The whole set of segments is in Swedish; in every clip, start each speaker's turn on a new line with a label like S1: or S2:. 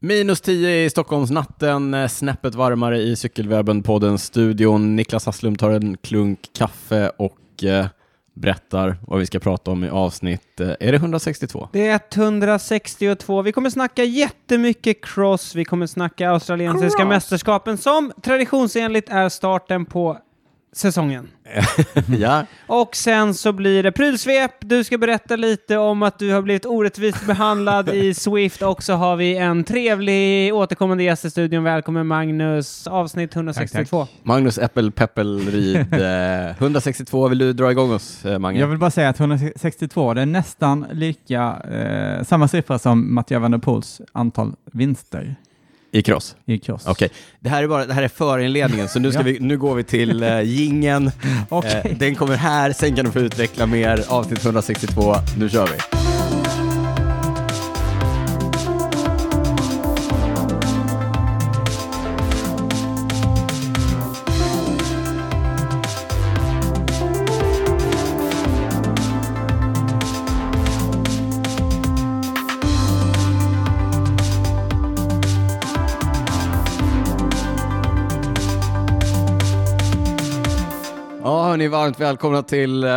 S1: Minus 10 i Stockholmsnatten, eh, snäppet varmare i Cykelwebben-podden-studion. Niklas Hasslum tar en klunk kaffe och eh, berättar vad vi ska prata om i avsnitt, eh, är det 162?
S2: Det är 162. Vi kommer snacka jättemycket cross. Vi kommer snacka australiensiska
S1: Cross.
S2: mästerskapen som traditionsenligt är starten på säsongen.
S1: ja.
S2: Och sen så blir det prylsvep. Du ska berätta lite om att du har blivit orättvist behandlad i Swift och så har vi en trevlig återkommande gäst i studion. Välkommen Magnus, avsnitt 162.
S3: Tack,
S1: Magnus Äppel Peppelrid, eh, 162, vill du dra igång oss, eh, Mange?
S3: Jag vill bara säga att 162, det är nästan lika, eh, samma siffra som Mattia van der Poels antal vinster
S1: I cross?
S3: i cross.
S1: Okej, det här är bara, det här är förinledningen, så nu, ska
S3: Ja.
S1: vi, nu går vi till eh, gingen.
S3: Okej.
S1: Eh, den kommer här, sen kan du få utveckla mer. Avsnitt 162, nu kör vi. Ja, hörni, varmt välkomna till eh,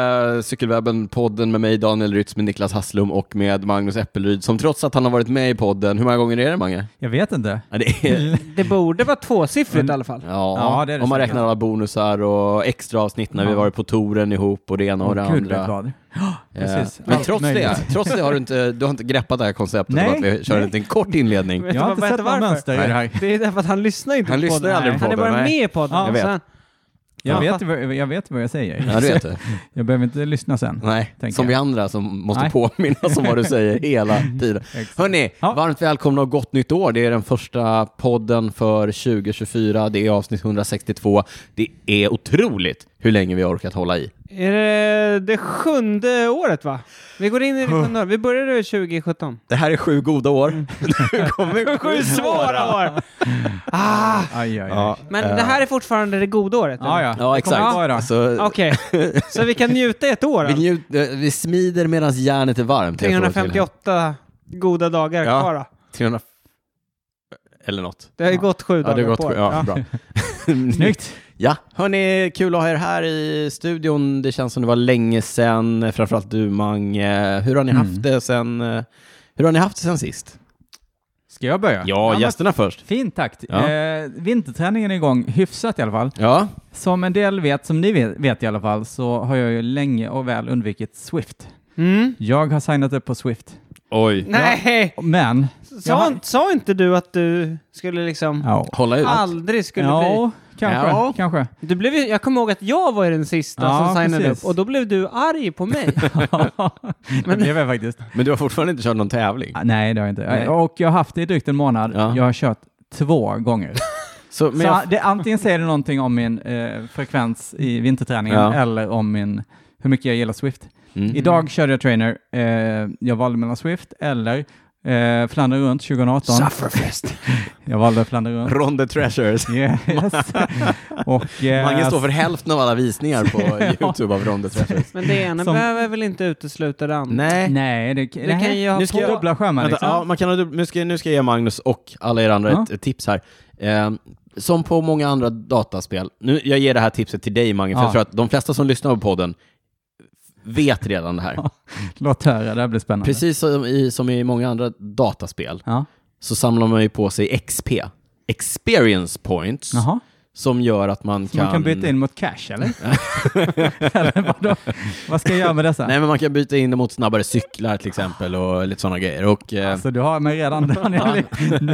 S1: Cykelwebben-podden med mig Daniel Rytz, med Niklas Hasslum och med Magnus Äppelryd, som trots att han har varit med i podden, hur många gånger är det Mange?
S3: Jag vet inte.
S1: Ja, det är,
S2: Det borde vara
S1: Mm.
S2: tvåsiffrigt i alla fall.
S1: ja,
S3: Ja, det är det
S1: om man
S3: säkert.
S1: räknar alla bonusar och extra avsnitt när vi
S3: Ja.
S1: varit på touren ihop och det ena och det
S3: Gud
S1: andra.
S3: vet vad.
S1: Eh,
S3: Precis.
S1: Men
S3: Allt
S1: trots det,
S3: möjligt.
S1: trots det har du inte, du har inte greppat det här konceptet
S3: Nej,
S1: om att vi kör
S3: nej.
S1: en liten kort inledning.
S2: Vet du
S3: Jag har
S2: vad-
S3: inte
S2: vet
S3: sett
S2: du
S3: något
S2: varför?
S3: mönster i det här.
S2: Det är därför att han lyssnar inte
S1: Han
S2: på
S1: lyssnar
S2: podden.
S1: aldrig på
S2: Han är bara
S1: podden, nej.
S2: med i podden.
S3: Ja,
S2: och
S1: jag vet.
S2: sen-
S3: Jag,
S2: Ja.
S3: vet, vad- jag vet vad jag säger.
S1: Ja, du vet det.
S3: Jag behöver inte lyssna sen.
S1: Nej,
S3: Tänker
S1: som
S3: jag.
S1: vi andra som måste
S3: Nej.
S1: påminnas om vad du säger hela tiden.
S3: Exakt.
S1: Hörni,
S3: Ja.
S1: varmt välkomna och gott nytt år. Det är den första podden för 2024. Det är avsnitt 162. Det är otroligt hur länge vi har orkat hålla i.
S2: Är det det sjunde året va? Vi går in i det sjunde året. Vi började 2017.
S1: Det här är sju goda år. Nu kommer
S2: Sju svåra år!
S3: Aj, aj, aj.
S1: Ja,
S2: Men
S1: eh,
S2: det här är fortfarande det goda året? eller?
S3: Ja, ja.
S1: Ja, exakt. Alltså.
S3: Kom ihåg då.
S1: Så,
S2: Okej, så vi kan njuta i ett år?
S1: vi,
S2: alltså.
S1: njut, eh, vi smider medan järnet är varmt. ett år till.
S2: 358 goda dagar
S1: Ja.
S2: kvar då.
S1: 300... Eller något.
S2: Det har ju gått sju
S1: Ja,
S2: dagar
S1: det har gått
S2: på
S1: sju.
S2: året.
S1: Ja, bra.
S3: Snyggt.
S1: Ja, hörni, kul att ha er här i studion. Det känns som det var länge sedan, framförallt du Mange. Hur har ni
S3: Mm.
S1: haft det sen, eh, hur har ni haft det sen sist?
S3: Ska jag börja?
S1: Ja,
S3: men
S1: gästerna först.
S3: Fint tack.
S1: Ja.
S3: Eh, vinterträningen är igång, hyfsat i alla fall.
S1: Ja,
S3: Som en del vet, som ni vet, vet i alla fall, så har jag ju länge och väl undvikit Swift.
S2: Mm.
S3: Jag har signat upp på Swift,
S1: oj.
S2: Nej!
S3: men...
S2: Sa,
S3: Jag har-
S2: sa inte du att du skulle liksom
S3: Ja,
S1: Hålla ut.
S2: aldrig skulle bli...
S3: ja kanske.
S1: Ja.
S3: kanske.
S2: Du blev, ju- jag kommer ihåg att jag var ju den sista
S3: Ja,
S2: som signade
S3: precis.
S2: upp och då blev du arg på mig.
S3: det blev jag faktiskt.
S1: Men du har fortfarande inte kört någon tävling.
S3: Ah, Nej, det har jag inte.
S1: Nej.
S3: Och jag har haft det i drygt en månad.
S1: Ja.
S3: Jag har kört två gånger.
S1: Så, men
S3: så
S1: jag,
S3: det, antingen säger det någonting om min eh, frekvens i vinterträningen
S1: Ja.
S3: eller om min, hur mycket jag gillar Swift.
S1: mm.
S3: Idag körde jag trainer. Eh, jag valde mellan Swift eller eh, Flandern runt 2018.
S2: Sufferfest.
S3: Jag valde Flandern runt.
S1: Ronde Treasures.
S3: Yes. Och, eh,
S1: Mange står för hälften av alla visningar på YouTube av Ronde Treasures.
S2: Men det ena
S3: Som-
S2: behöver väl inte utesluta det andra?
S1: Nej.
S3: Nej, det, det
S2: kan ju ha
S3: Nu ska
S2: på-
S3: jag dubbla skärmar
S1: Vänta,
S3: liksom.
S1: ja, man kan ha, dubb- nu, ska, nu ska jag ge Magnus och alla er andra
S3: Ja.
S1: ett, ett tips här. Eh, som på många andra dataspel, nu, jag ger det här tipset till dig Mange, för
S3: Ja.
S1: jag tror att de flesta som lyssnar på podden vet redan det här.
S3: Ja. Låt höra, det här blir spännande.
S1: Precis som i, som i många andra dataspel
S3: Ja.
S1: så samlar man ju på sig XP, experience points,
S3: Jaha.
S1: som gör att man
S3: Så
S1: kan...
S3: man kan byta in mot cash eller? eller vadå? Vad ska jag göra med dessa?
S1: Nej, men man kan byta in det mot snabbare cyklar till exempel och lite sådana grejer. Och, eh,
S3: Alltså du har mig redan Daniel.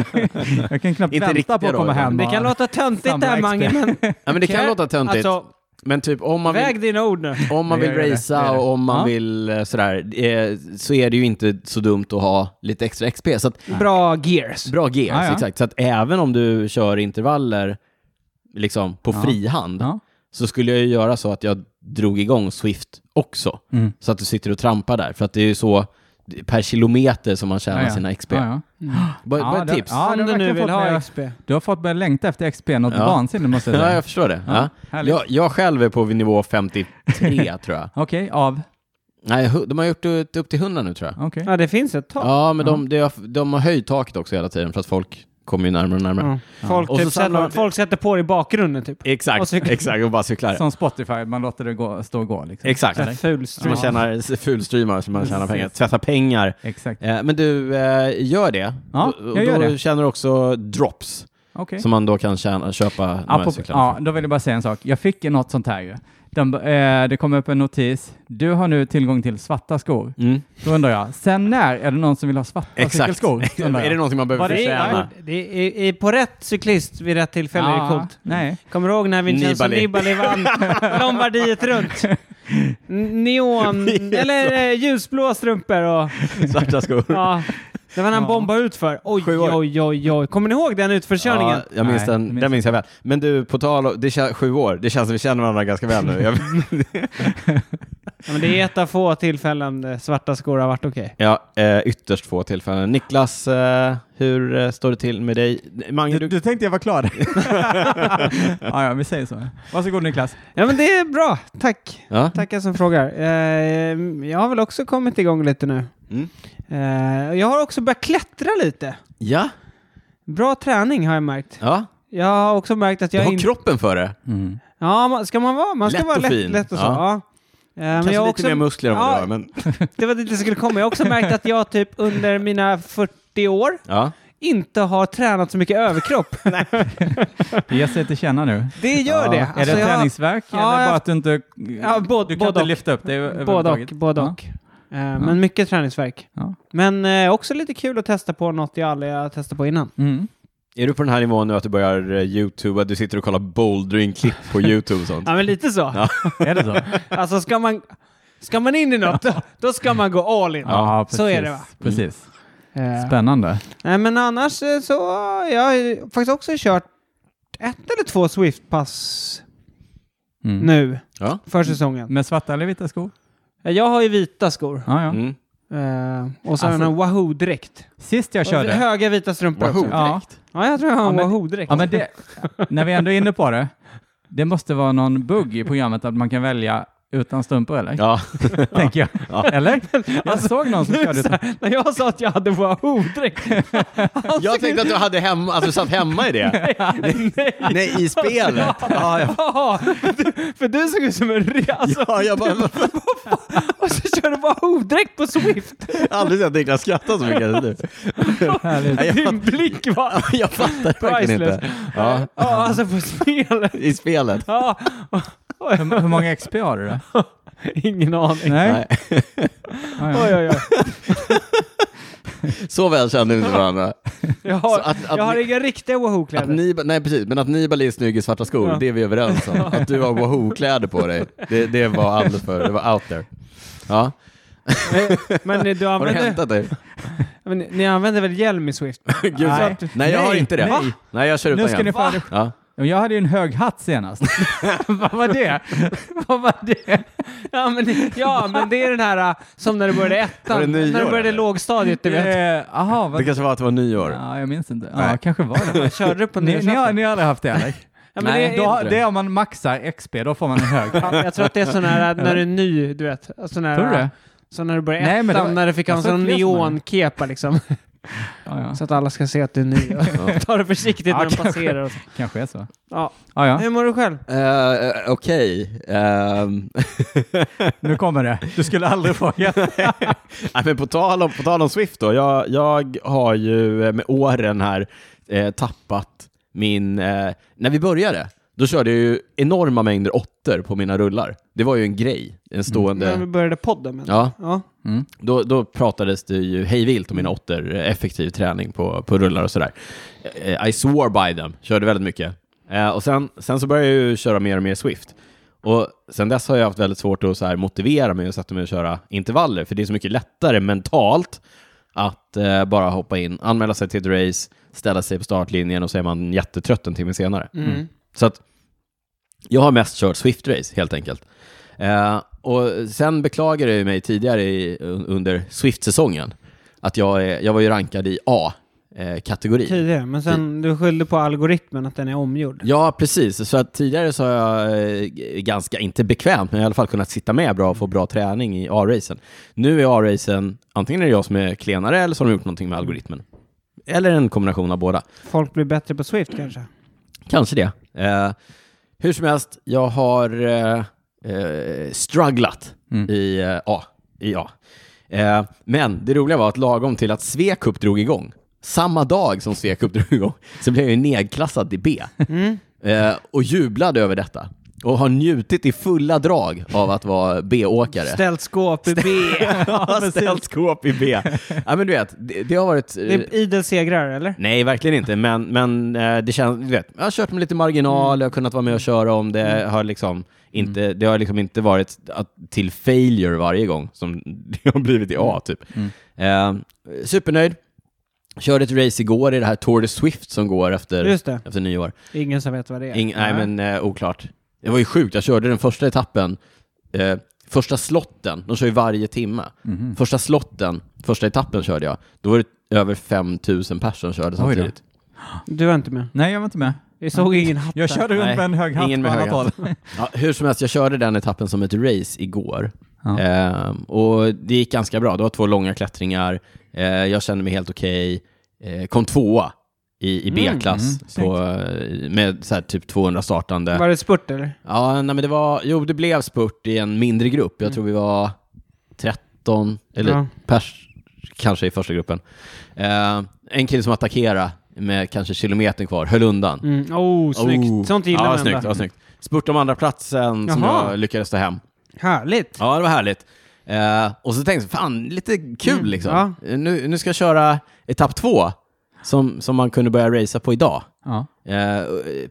S3: jag kan knappt
S1: Inte
S3: vänta
S1: riktiga
S3: på att komma
S1: då,
S3: hem.
S2: Det kan
S3: och-
S2: låta töntigt det
S3: Samma
S2: här
S3: XP.
S2: Mange, men
S1: ja, men det kan
S2: Okej.
S1: låta töntigt,
S2: alltså,
S1: men typ om man vill...
S2: väg dina ord nu.
S1: Om man
S3: Jag
S1: vill
S3: gör det, jag
S1: racea
S3: gör det.
S1: och om man
S3: Ja.
S1: vill eh, sådär, eh, så är det ju inte så dumt att ha lite extra XP. Så att,
S2: Bra gears.
S1: bra gears,
S3: Ja, ja.
S1: exakt. Så att även om du kör intervaller liksom, på
S3: Ja.
S1: frihand,
S3: Ja.
S1: så skulle jag ju göra så att jag drog igång Swift också.
S3: Mm.
S1: Så att du sitter och trampar där, för att det är ju så per kilometer som man tjänar
S3: Ja, ja.
S1: sina XP.
S3: Ja, ja.
S1: Bara,
S3: Ja,
S1: bara ett
S3: det-
S1: tips.
S3: ja,
S2: Om
S3: det
S2: du nu
S3: verkar
S2: vill
S3: fått
S2: ha
S3: mig-
S2: XP.
S3: Du har fått börja längta efter XP något
S1: Ja.
S3: vansinnigt måste jag
S1: Ja,
S3: säga.
S1: jag förstår det. Ja.
S3: härligt.
S1: Jag, jag själv är på nivå 53 tror jag.
S3: Okej, av?
S1: Nej, hu- de har gjort det upp till 100 nu tror jag.
S3: Okej.
S2: Ja, det finns ett tak.
S1: Ja, men de, det har- de har höjt taket också hela tiden för att folk kommer ju närmare och närmare.
S2: Ja. Folk,
S1: Och så
S2: typ
S1: samlar
S2: sätter,
S1: de-
S2: folk sätter på det i bakgrunden typ.
S1: Exakt,
S2: Och cyklar.
S1: exakt, och bara cyklar.
S3: Som Spotify, man låter det gå, stå och gå. Liksom.
S1: Exakt.
S2: Så här Ful
S1: Så man
S2: stream.
S1: tjänar fulstreamar, så man tjänar
S3: Precis.
S1: pengar. Tvättar pengar.
S3: Exakt.
S1: Eh, Men du, eh, gör det.
S3: Ja,
S1: Och- och
S3: jag gör
S1: då
S3: det.
S1: tjänar du också drops
S3: Okej.
S1: som man då kan tjäna, köpa de här
S3: Apropå,
S1: cyklarna
S3: ja, då vill jag bara säga en sak. Jag fick ju något sånt här ju. Den, eh, det kom upp en notis. Du har nu tillgång till svarta skor.
S1: för. Mm.
S3: Då undrar jag, sen när är det någon som vill ha svarta
S1: Exakt.
S3: cykelskor? Undrar jag.
S1: är det någonting man behöver
S2: Var det,
S1: förtjäna?
S2: är, det är, är på rätt cyklist vid rätt tillfälle är det
S3: Ja,
S2: coolt.
S3: Nej.
S2: Kommer du ihåg när Vincenzo
S1: Nibali.
S2: Nibali vann Lombardiet runt? N- Neon, eller eh, ljusblå strumpor och
S1: Svarta skor.
S2: ja, det var när han bombade ut för. Oj,
S1: Sju år.
S2: oj, oj, oj. Kommer ni ihåg den utförkörningen?
S1: Ja, jag minns
S3: Nej,
S1: den,
S3: det minns
S1: den minns jag väl. Men du, på tal om, det kän- sju år, det känns som vi känner varandra ganska väl nu. Jag,
S2: Ja, men det är ett av få tillfällen där svarta skor har varit okej.
S1: ja, eh, ytterst få tillfällen. Niklas, eh, hur eh, står det till med dig? Mange,
S3: Du,
S1: du,
S3: du tänkte jag var klar. ja, ja, vi säger så. Varsågod Niklas.
S2: Ja, men det är bra. Tack.
S1: ja?
S2: Tackar som frågar. Eh, jag har väl också kommit igång lite nu.
S1: Mm.
S2: Eh, jag har också börjat klättra lite.
S1: ja?
S2: Bra träning har jag märkt.
S1: Ja?
S2: Jag har också märkt att
S1: Du
S2: jag
S1: har
S2: in-
S1: kroppen för det.
S2: Mm. Ja, man- ska man vara? Man ska
S1: Lätt
S2: vara
S1: och
S2: lätt,
S1: fin.
S2: lätt och så.
S1: Ja.
S2: Ja. Eh, Men
S1: Kanske
S2: jag
S1: lite
S2: har också,
S1: mer muskler än vad
S2: Ja.
S1: du har, men...
S2: det var dit jag skulle komma. Jag har också märkt att jag typ under mina 40 år
S1: Ja.
S2: inte har tränat så mycket överkropp.
S3: Det ger sig till känna nu.
S2: Det gör det. Alltså,
S3: är det
S2: jag-
S3: träningsvärk
S2: Ja,
S3: eller
S2: jag-
S3: bara att du inte...
S2: Ja, både,
S3: du
S2: både
S3: kan inte
S2: och.
S3: lyfta upp det
S2: Både
S3: överhuvudtaget?
S2: och. Både
S3: Ja.
S2: och. Eh, Men mycket träningsverk.
S3: Ja.
S2: Men eh, också lite kul att testa på något jag aldrig har testat på innan.
S3: Mm.
S1: Är du på den här nivån nu att du börjar eh, youtuba, du sitter och kollar bouldering-klipp på youtube och sånt?
S2: Ja, men lite så.
S3: Är det så? Ja,
S2: Alltså ska man, ska man in i något, då, då ska man gå all in. så är det va?
S3: Precis.
S2: Eh,
S3: Spännande.
S2: Nej, men annars eh, så jag har ju faktiskt också kört ett eller två Swift-pass
S3: Mm.
S2: nu
S1: Ja.
S2: för säsongen.
S3: Med svarta eller vita skor?
S2: Eh, Jag har ju vita skor
S3: Ja, ja.
S1: Mm.
S2: eh, och så har
S3: Alltså-
S2: jag en Wahoo-dräkt.
S3: Sist jag körde...
S2: Höga vita strumpor
S1: Wahoo.
S2: också. Ja.
S3: ja.
S2: jag tror jag har en
S3: Ja, men-
S2: Wahoo-dräkt.
S3: ja, men det... När vi ändå är inne på det. Det måste vara någon bugg i programmet att man kan välja utan strumpor eller?
S1: Ja.
S3: Tänker jag. Eller? Jag såg någon som
S2: Nu
S3: körde
S2: så
S3: utan...
S2: här, när jag sa att jag hade Wahoo-dräkt.
S1: Jag tänkte att du hade hemma, alltså du satt hemma i det.
S2: Nej,
S1: Nej, i spelet. Ja, ja.
S2: ja, du- för du såg ut som en re... Alltså,
S1: Ja, jag bara,
S2: och så kör du Wahoo-dräkt på Swift.
S1: jag har aldrig sett Niklas skratta så mycket som nu.
S3: Härligt.
S1: Nej, jag,
S2: Din blick var...
S1: jag fattar verkligen inte. Ja,
S2: Ja, alltså på spelet.
S1: I spelet.
S2: Ja,
S3: Hur, hur många XP har du då?
S2: ingen aning.
S3: Nej. Ja,
S2: Oj,
S3: ja.
S2: oj, oj.
S1: Så väl kände vi inte varandra.
S2: Jag
S1: Så
S2: har,
S1: att, att,
S2: jag har
S1: ni,
S2: inga riktiga
S1: att
S2: Wahoo-kläder.
S1: Nibali, nej precis, men att Nibali är snygg i svarta skor,
S2: Ja.
S1: det är vi överens om. Att du har Wahoo-kläder på dig, det, det var alldeles för, det var out there. Ja,
S2: Men, eh, du
S1: har det
S2: använder,
S1: hänt att dig?
S2: men ni använder väl hjälm i Swift?
S1: Gud,
S3: Nej.
S1: nej. nej, jag har
S3: Nej,
S1: inte det.
S3: nej.
S1: Nej, jag kör utan
S3: Nu ska
S1: hjälm.
S3: ni få...
S1: Ja.
S3: Jag hade ju en hög hatt senast. Vad var det? Vad var det?
S2: Ja men, ja, men det är den här eh, som när du började ettan,
S1: Var det nyår,
S2: när du började
S1: eller?
S2: lågstadiet, du vet.
S3: Eh, Aha, vad...
S1: Det kanske var att det var nyår.
S3: Ja, jag minns inte. Ja,
S1: Nej.
S3: kanske var det.
S2: Körde du på
S3: Ni, ni, har,
S2: nyårsafton?
S3: ni har aldrig haft det eller?
S2: Ja, men
S1: Nej,
S2: det
S3: Då,
S2: är-
S3: har- det är om man maxar XP, då får man en hög.
S2: Ja, Jag tror att det är sån här eh, när du är ny, du vet. Sån här,
S3: Tror du det?
S2: Så när du började
S3: Nej,
S2: ettan,
S3: men det var-
S2: när du fick ha en
S3: jag tror
S2: sån
S3: att det är sån här.
S2: neonkepa liksom.
S3: Ja, ja.
S2: Så att alla ska se att du är ny. Och Ta det försiktigt
S3: Ja,
S2: när de
S3: kanske.
S2: passerar. Och så.
S3: Kanske är så.
S2: Ja.
S3: Ja, ja.
S2: Hur mår du själv?
S1: Eh, eh, Okej. Ehm,
S3: Nu kommer det. Du skulle aldrig fråga.
S1: nej, men på, tal om, på tal om Swift då. Jag, jag har ju eh, med åren här eh, tappat min... Eh, när vi började, då körde jag ju enorma mängder åttor på mina rullar. Det var ju en grej, en stående...
S2: När vi började podden? Men.
S1: Ja,
S2: Ja.
S3: Mm.
S1: då, då pratades det ju hejvilt om mina åttor, eh, effektiv träning på, på rullar och sådär. Eh, I swore by them, körde väldigt mycket. Eh, och sen, sen så började jag ju köra mer och mer Swift. Och sen dess har jag haft väldigt svårt att så här motivera mig och sätta mig och köra intervaller, för det är så mycket lättare mentalt att eh, bara hoppa in, anmäla sig till ett race, ställa sig på startlinjen och så är man jättetrött en timme senare.
S2: Mm.
S1: Så att jag har mest kört Swift-race helt enkelt. Eh, och sen beklagade jag ju mig tidigare i, un- under Swift-säsongen att jag, är, jag var ju rankad i A eh, kategori.
S2: Tidigare, men sen du skyllde på algoritmen att den är omgjord.
S1: Ja, precis. Så att tidigare så har jag eh, g- ganska, inte bekvämt, men i alla fall kunnat sitta med bra och få bra träning i A-racen. Nu är A-racen, antingen är det jag som är klenare eller så har de gjort någonting med algoritmen. Eller en kombination av båda.
S2: Folk blir bättre på
S1: Mm.
S2: Swift kanske.
S1: Kanske det. Eh, hur som helst, jag har eh, eh, strugglat
S3: Mm.
S1: i eh, A. I A. Eh, men det roliga var att lagom till att Svekup drog igång, samma dag som Svekup drog igång, så blev jag ju nedklassad till B.
S2: Mm.
S1: Eh, och jublade över detta. Och har njutit i fulla drag av att vara B-åkare.
S2: Ställt skåp i B.
S1: Har ställt skåp i B. ja, men du vet, det, det har varit... eh,
S2: Det är idel segrar, eller?
S1: Nej, verkligen inte. Men, men eh, det känns, du vet, jag har kört med lite marginal, jag har kunnat vara med och köra om det. Har liksom inte, Det har liksom inte varit att, till failure varje gång som det har blivit i A, typ. Eh, supernöjd. Körde ett race igår i det här Tour de Swift som går efter,
S2: Just det.
S1: efter nyår.
S2: Ingen som vet vad det är.
S1: Ing, nej, men eh, oklart. Det var ju sjukt. Jag körde den första etappen, eh, första slotten, de kör ju varje timme.
S3: Mhm.
S1: Första slotten, första etappen körde jag. Då var det över 5000 personer som körde
S3: Oj då.
S1: samtidigt.
S2: Du var inte med.
S3: Nej, jag var inte med.
S2: Vi såg ingen hatt.
S3: Jag körde runt
S1: Nej,
S3: med en hög hatt
S1: ingen
S3: på
S1: med hög
S3: annat håll.
S1: Ja, hur som helst, jag körde den etappen som ett race igår.
S3: Ja.
S1: Ehm, och det gick ganska bra. Det var två långa klättringar. Eh, jag kände mig helt okej. Eh, kom tvåa i, i
S2: Mm,
S1: B-klass
S3: mm,
S1: på, eh, med så här, typ 200 startande.
S2: Var det spurt eller?
S1: Ja, nej, men det var, jo, det blev spurt i en mindre grupp. Jag
S2: Mm.
S1: tror vi var 13 eller
S2: Ja.
S1: pers kanske i första gruppen. Eh, en kille som attackerade med kanske kilometern kvar, höll undan.
S2: Mm. Oh, snyggt.
S1: Oh.
S2: Sånt gillar
S1: ja,
S2: man
S1: snyggt,
S2: ändå.
S1: ja, snyggt. Spurt om andra platsen som
S2: Jaha.
S1: jag lyckades ta hem.
S2: Härligt.
S1: Ja, det var härligt. Eh, och så tänkte jag, fan, lite kul
S2: Mm,
S1: liksom. Nu, nu ska jag köra etapp två, som, som man kunde börja racea på idag.
S3: Ja.
S1: Eh,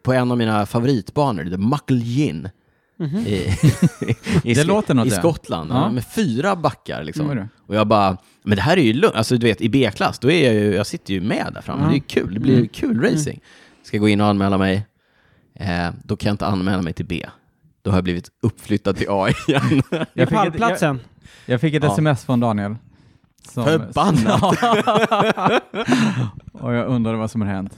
S1: på en av mina favoritbanor, The Mucklegin.
S2: Mhm.
S1: I, i,
S3: Det låter något
S1: I
S3: det.
S1: Skottland,
S3: Ja.
S1: ja. med fyra backar liksom.
S2: Mm.
S3: Oj då.
S1: Och jag bara, men det här är ju lugnt. Alltså du vet, i B-klass, då är jag ju, jag sitter ju med där framme.
S2: Ja.
S1: Det är ju kul, det blir ju kul racing. Ska gå in och anmäla mig. Eh, då kan jag inte anmäla mig till B. Då har jag blivit uppflyttad till A igen.
S2: I
S3: Jag fick ett-
S2: pallplatsen.
S3: Jag fick ett
S1: Ja.
S3: sms från Daniel. Som,
S1: Förbannat!
S3: och jag undrade vad som hade hänt.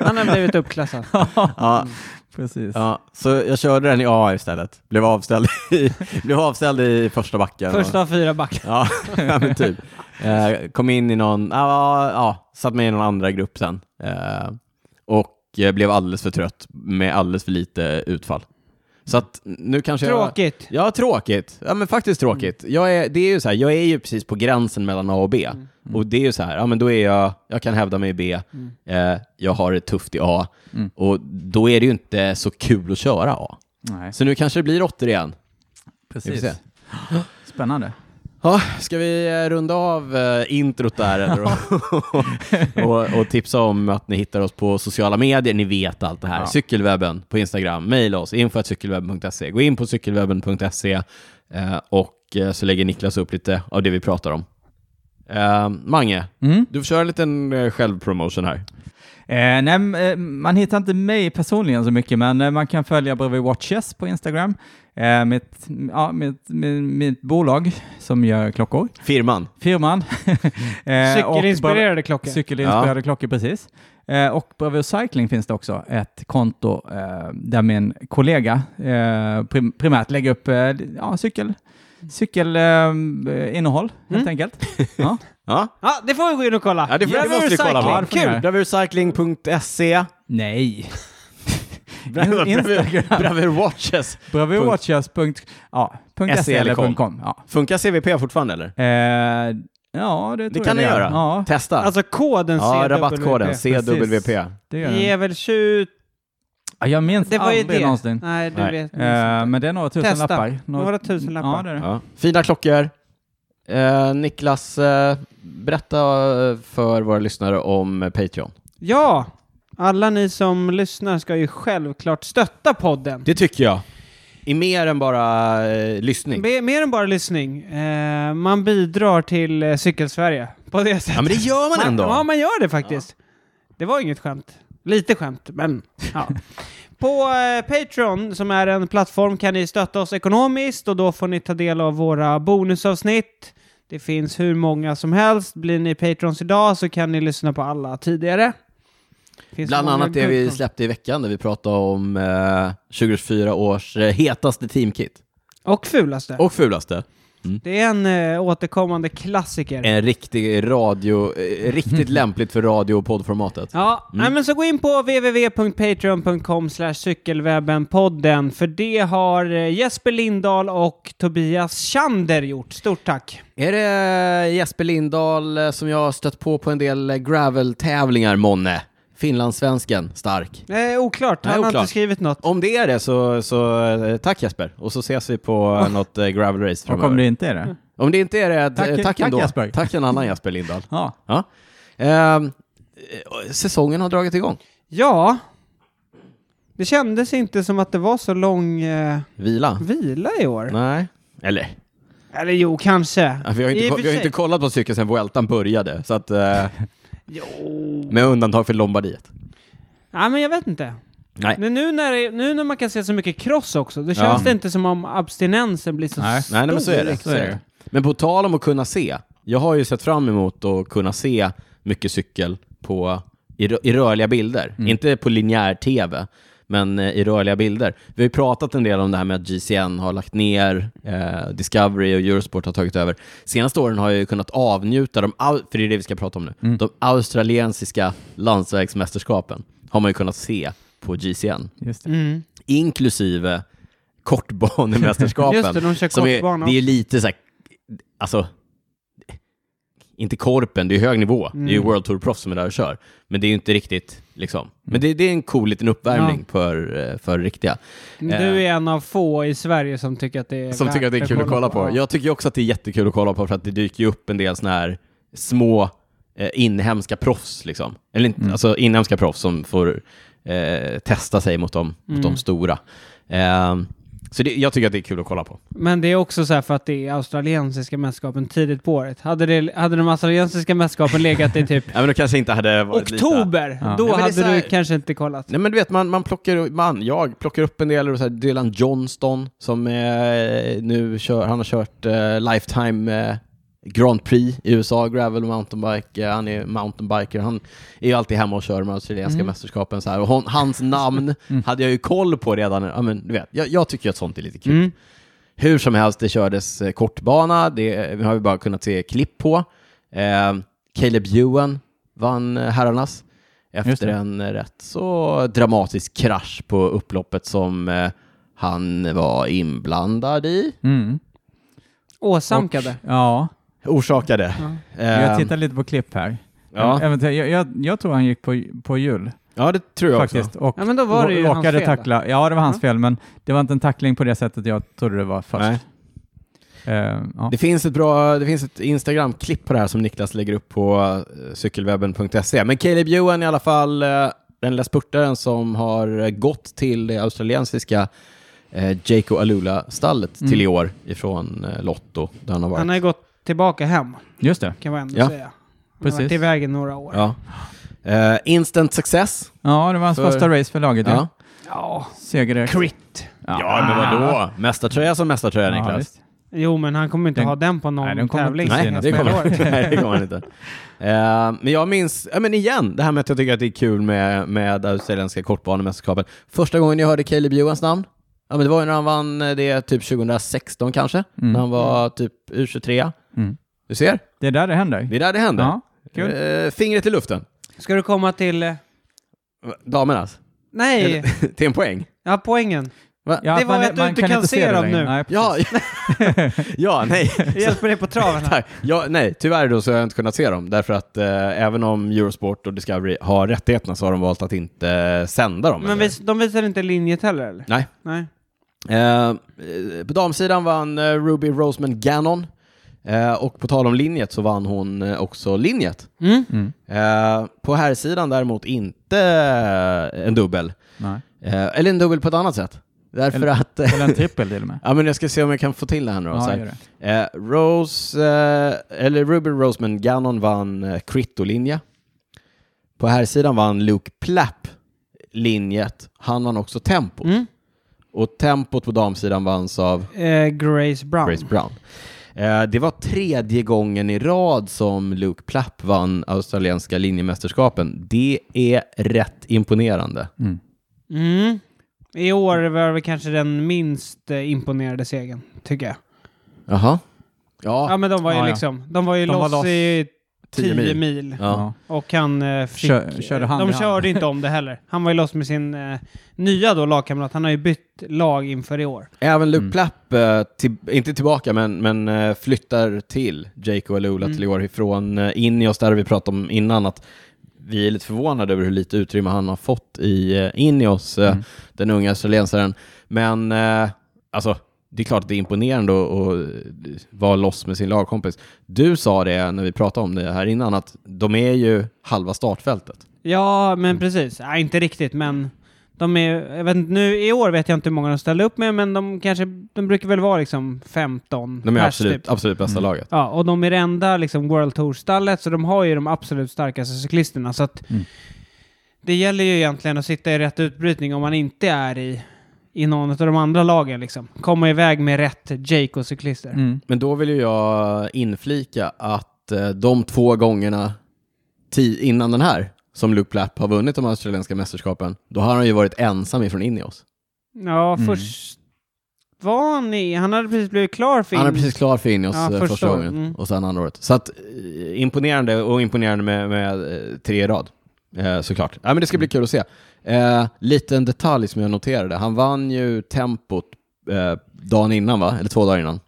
S2: Han har blivit uppklassad.
S1: ja,
S3: Precis.
S1: ja, så jag körde den i A istället. Blev avställd i, blev avställd i första backen.
S2: Första av fyra backar.
S1: Ja, ja, men typ. Eh, kom in i någon, ja, ja, ja, satt med i någon andra grupp sen. Eh, och eh, blev alldeles för trött med alldeles för lite utfall. Så att nu kanske jag...
S2: Tråkigt.
S1: Ja, tråkigt. Ja, men faktiskt tråkigt.
S3: Mm.
S1: Jag är, det är ju så här, jag är ju precis på gränsen mellan A och B. Mm. Och det är ju så här, ja men då är jag, jag kan hävda mig i B, eh, jag har det tufft i A.
S3: Mm.
S1: Och då är det ju inte så kul att köra A.
S3: Nej,
S1: Så nu kanske det blir råttor igen.
S3: precis.
S1: Vi får se.
S3: Spännande.
S1: Ja, ska vi eh, runda av eh, introt där eller? och, och tipsa om att ni hittar oss på sociala medier. Ni vet allt det här.
S3: Ja.
S1: Cykelwebben på Instagram. Mejla oss, info.cykelwebben.se. Gå in på cykelwebben.se eh, och eh, så lägger Niklas upp lite av det vi pratar om. Eh, Mange,
S3: Mm.
S1: du får köra en liten eh, självpromotion här.
S3: Eh, nej, m- eh, man hittar inte mig personligen så mycket, men eh, man kan följa Bredvid Watches på Instagram. Eh, mitt, ja, mitt, mitt, mitt bolag som gör klockor,
S1: Firman.
S3: firman. Eh, och
S2: Cykelinspirerade klockor.
S3: Cykelinspirerade klockor, precis. Eh, och Bravur Cycling finns det också ett konto eh, där min kollega eh, prim- primärt lägger upp eh, ja, cykel, cykelinnehåll eh, innehåll, helt
S2: Mm.
S3: enkelt. Ja,
S1: Ja,
S2: Ja, det får vi gå in och kolla.
S1: ja det, får, det måste vi kolla
S3: Ja, det
S1: på.
S3: får ni göra.
S1: Bravurcycling.se.
S3: nej. Instagram.
S1: Bravur Watches.
S3: Bravurwatchers.se eller .com. E Ja.
S1: Funkar CVP fortfarande eller?
S3: Eh, ja, det tror
S1: Det
S3: jag
S1: kan ni
S3: det gör.
S1: göra.
S3: Ja,
S1: Testa.
S2: Alltså koden
S1: Ja,
S2: CWP.
S1: rabattkoden CWP.
S3: det gör den.
S2: Ge väl 20...
S3: Ja, Jag minns
S2: Det var ju
S3: aldrig
S2: det.
S3: någonsin.
S2: Nej, du
S1: Nej.
S2: vet.
S3: Eh, men det är några tusen
S2: Testa.
S3: lappar.
S2: Några tusen lappar.
S3: Ja, det är det.
S1: Ja. Fina klockor. Eh, Niklas, eh, berätta eh, för våra lyssnare om eh, Patreon.
S2: Ja, alla ni som lyssnar ska ju självklart stötta podden.
S1: Det tycker jag. I mer än bara eh, lyssning.
S2: Be- Mer än bara lyssning. Eh, man bidrar till eh, Cykelsverige på det sättet.
S1: Ja, men det gör man ändå.
S2: Ja, man gör det faktiskt. Det var inget skämt. Lite skämt, men ja. På eh, Patreon, som är en plattform, kan ni stötta oss ekonomiskt och då får ni ta del av våra bonusavsnitt. Det finns hur många som helst. Blir ni patrons idag så kan ni lyssna på alla tidigare. Finns
S1: Bland
S2: många
S1: annat det vi
S2: patrons.
S1: släppte i veckan där vi pratade om eh, 2024 års eh, hetaste teamkit.
S2: Och fulaste.
S1: Och fulaste.
S2: Det är en eh, återkommande klassiker.
S1: En riktig radio, eh, riktigt lämpligt för radio och poddformatet.
S2: Ja, nej, men så gå in på www.patreon.com cykelwebbenpodden för det har eh, Jesper Lindahl och Tobias Chander gjort. Stort tack!
S1: Är det Jesper Lindahl eh, som jag har stött på på en del eh, gravel-tävlingar, månne? Finlandssvensken, stark.
S2: Eh, oklart,
S1: Nej,
S2: han har
S1: oklart.
S2: inte skrivit något.
S1: Om det är det så, så eh, tack Jesper, och så ses vi på oh. något eh, gravel-race
S3: Och om
S1: framöver.
S3: det inte är
S2: Mm.
S3: det?
S1: Om det inte är det, tack,
S3: Tack-
S1: tack,
S3: tack
S1: ändå.
S3: Jesper.
S1: Tack en annan Jesper Lindahl.
S3: Ja.
S1: Ja. Ehm, eh, säsongen har dragit igång.
S2: Ja, det kändes inte som att det var så lång eh,
S1: Vila?
S2: vila i år.
S1: Nej. Eller,
S2: Eller jo, kanske.
S1: ja, vi har, ju
S2: I
S1: inte, ko-
S2: och för
S1: vi har ju
S2: sig.
S1: inte kollat på cykeln sedan Vueltan började, så att, eh,
S2: Jo.
S1: med undantag för Lombardiet.
S2: Nej, men jag vet inte.
S1: Nej.
S2: Men nu när, det- nu när man kan se så mycket cross också, då
S1: Ja.
S2: känns det inte som om abstinensen blir så
S3: Nej.
S2: stor.
S1: Nej, nej, men så är det.
S2: liksom.
S1: Så är det. Men på tal om att kunna se, jag har ju sett fram emot att kunna se mycket cykel på, i, rö- i rörliga bilder. Inte på linjär tv, men eh, i rörliga bilder. Vi har ju pratat en del om det här med att GCN har lagt ner, eh, Discovery och Eurosport har tagit över. Senaste åren har jag ju kunnat avnjuta, de, au- för det är det vi ska prata om nu, de australiensiska landsvägsmästerskapen har man ju kunnat se på GCN
S3: Just det.
S2: Mm.
S1: inklusive kortbanemästerskapen.
S2: Just det, de kör
S1: som är,
S2: kortbana
S1: det är lite så här, alltså, inte korpen, det är hög nivå. Det är
S2: Mm.
S1: ju World Tour-proffs som är där och kör. Men det är ju inte riktigt, liksom. Men det, det är en cool liten uppvärmning för, eh, för riktiga.
S2: Du är en av få i Sverige som tycker att det är
S1: Eh. Som
S2: värt
S1: tycker att det är kul att kolla på.
S2: Ja.
S1: Jag tycker också att det är jättekul att kolla på för att det dyker ju upp en del såna här små eh, inhemska proffs, liksom. Eller inte,
S2: Mm.
S1: alltså inhemska proffs som får eh, testa sig mot de, mot
S2: Mm.
S1: de stora. Eh, så det, jag tycker att det är kul att kolla på.
S2: Men det är också så här för att det är australiensiska mästerskapen tidigt på året. Hade, det, hade de australiensiska mästerskapen legat i typ
S1: Ja, men då kanske inte hade varit Lite...
S2: oktober,
S3: Ja.
S2: då
S1: Ja, men det är
S2: hade
S1: så här-
S2: du kanske inte kollat.
S1: Nej men du vet, man, man plockar, man, jag plockar upp en del, och så här Dylan Johnston som eh, nu kör, han har kört eh, Lifetime eh, Grand Prix i USA, Gravel och Mountainbike, eh, han är mountainbiker, han är ju alltid hemma och kör de australienska mästerskapen så här. Och hon, hans namn hade jag ju koll på redan, ja, men, du vet, jag, jag tycker ju att sånt är lite kul.
S2: Mm.
S1: Hur som helst, det kördes eh, kortbana, det eh, har vi bara kunnat se klipp på. Eh, Caleb Ewan vann eh, herrarnas
S3: Just
S1: efter
S3: det.
S1: en eh, rätt så dramatisk krasch på upploppet som eh, han var inblandad i.
S3: Mm.
S2: Åsamkade.
S3: Ja,
S1: Orsakade.
S3: jag
S1: Eh,
S3: tittar lite på klipp här. Ehm,
S1: ja.
S3: Eventuellt- Jag, jag, jag tror han gick på, på jul
S1: ja, det tror jag
S3: faktiskt.
S1: också.
S3: Och
S2: Ja, men då var det ju hans
S3: råkade
S2: fel.
S3: tackla. Ja, det var hans fel, men det var inte en tackling på det sättet jag trodde det var först.
S1: Nej.
S3: Eh, ja.
S1: Det finns ett bra, det finns ett Instagram-klipp på det här som Niklas lägger upp på eh, cykelwebben.se. Men Caleb Ewan i alla fall, eh, den lilla spurtaren som har eh, gått till det australiensiska eh, Jaco Alula-stallet
S3: Mm.
S1: till i år ifrån eh, Lotto, där han har varit.
S2: Han har ju gått tillbaka hem,
S3: Just det.
S2: kan man ändå
S1: Ja.
S2: säga. Han har
S3: Precis.
S2: varit iväg i några år.
S1: Ja. Eh, instant success.
S3: Ja, det var hans
S1: För-
S3: första race för laget. Ja.
S1: Ja.
S2: Ja,
S3: Seger direkt.
S2: crit.
S1: vadå? Ah. Mästartröja som mästartröja,
S3: Ja,
S1: Niklas.
S3: visst.
S2: Jo, men han kommer inte
S3: Den-
S2: ha den på någon
S3: Nej, den kommer
S2: tävling.
S3: inte
S1: Nej,
S3: synas
S1: det
S3: med
S1: kommer,
S3: ett
S1: nej, det kommer han inte. Eh, men jag minns, ja, men igen, det här med att jag tycker att det är kul med, med australienska kortbanemästerskapen. Första gången jag hörde Caleb Ewans namn, ja, men det var ju när han vann eh, det typ 2016 kanske,
S3: Mm.
S1: när han var typ U23.
S3: Mm.
S1: Du ser,
S3: Det är där det händer.
S1: det är där det händer.
S3: Ja, kul.
S1: Eh, fingret i luften,
S2: Ska du komma till... eh,
S1: damernas,
S2: Nej,
S1: till en poäng.
S2: ja, poängen.
S3: Ja,
S2: Det
S3: att
S2: var att du inte kan se
S3: det
S2: dem
S3: längre.
S2: nu.
S3: Nej, precis.
S1: Ja, ja nej.
S2: Hjälper dig på traven här.
S1: Tack. Ja, nej, tyvärr då så har jag inte kunnat se dem, därför att eh, även om Eurosport och Discovery har rättigheterna så har de valt att inte eh, sända dem.
S2: Men
S1: eller?
S2: vis, de visar inte linjet heller, eller?
S1: Nej.
S2: Nej.
S1: Eh, eh, på damsidan vann eh, Ruby Roseman Gannon, eh, och på tal om linjet så vann hon eh, också linjet.
S2: Mm.
S3: Mm.
S1: Eh, på herrsidan däremot inte eh, en dubbel,
S3: Nej.
S1: eh, eller en dubbel på ett annat sätt. Därför
S3: Eller-
S1: att...
S3: Eller en trippel till och med.
S1: ja, men jag ska se om jag kan få till det här nu då. så
S3: Ja,
S1: här.
S3: gör det.
S1: Eh, Rose, eh, eller Ruben Roseman Gannon vann eh, Critto-linje. På här sidan vann Luke Plapp linjet. Han vann också tempo.
S2: Mm.
S1: Och tempot på damsidan vanns av
S2: Eh, Grace Brown.
S1: Grace Brown. Eh, Eh, Det var tredje gången i rad som Luke Plapp vann australienska linjemästerskapen. Det är rätt imponerande.
S2: Mm. I år var det kanske den minst eh, imponerade segern, tycker jag.
S1: Jaha. Ja,
S2: Ja, men de var ju
S3: Ja, ja.
S2: liksom... De var ju
S3: De var
S2: loss,
S3: loss
S2: i 10
S1: 10
S2: mil.
S1: mil.
S3: Ja.
S1: ja.
S2: Och han eh, fick...
S3: Kör- körde hand i
S2: de
S3: hand.
S2: körde inte om det heller. Han var ju loss med sin eh, nya då, lagkamrat. Han har ju bytt lag inför i år.
S1: Även Luke
S3: Mm.
S1: Plapp, eh, till, inte tillbaka, men, men eh, flyttar till Jake och Alula
S2: Mm.
S1: till i år ifrån eh, Ineos, där vi pratade om innan att vi är lite förvånade över hur lite utrymme han har fått i eh, Ineos, eh,
S3: Mm.
S1: den unga australiensaren. Men eh, alltså, det är klart att det är imponerande att, att eh, vara loss med sin lagkompis. Du sa det när vi pratade om det här innan, att de är ju halva startfältet.
S2: Ja, men
S1: Mm.
S2: precis. Nej, inte riktigt, men de är, jag vet inte, nu i år vet jag inte hur många de ställer upp med, men de kanske, de brukar väl vara liksom 15
S1: De är
S2: pers
S1: absolut,
S2: typ.
S1: absolut bästa
S3: Mm.
S1: laget.
S2: Ja, och de är det enda liksom World Tour-stallet, så de har ju de absolut starkaste cyklisterna. Så att
S3: Mm.
S2: det gäller ju egentligen att sitta i rätt utbrytning om man inte är i, i någon av de andra lagen liksom. Komma iväg med rätt Jake och cyklister.
S3: Mm.
S1: Men då vill ju jag inflika att eh, de två gångerna ti- innan den här som Luke Plapp har vunnit de australienska mästerskapen, då har han ju varit ensam ifrån Ineos.
S2: Ja,
S3: Mm.
S2: först var han i, han hade precis blivit klar för
S1: Han är
S2: in-
S1: precis klar för Ineos
S2: Ja,
S1: eh,
S2: första
S1: första,
S2: året.
S1: gången
S2: Mm.
S1: och sen andra året. Så att, eh, imponerande och imponerande med, med eh, tre i rad. Eh, såklart. Ja, men det ska bli kul att se. Eh, liten detalj som jag noterade. Han vann ju tempot eh, dagen innan, va? Eller två dagar innan.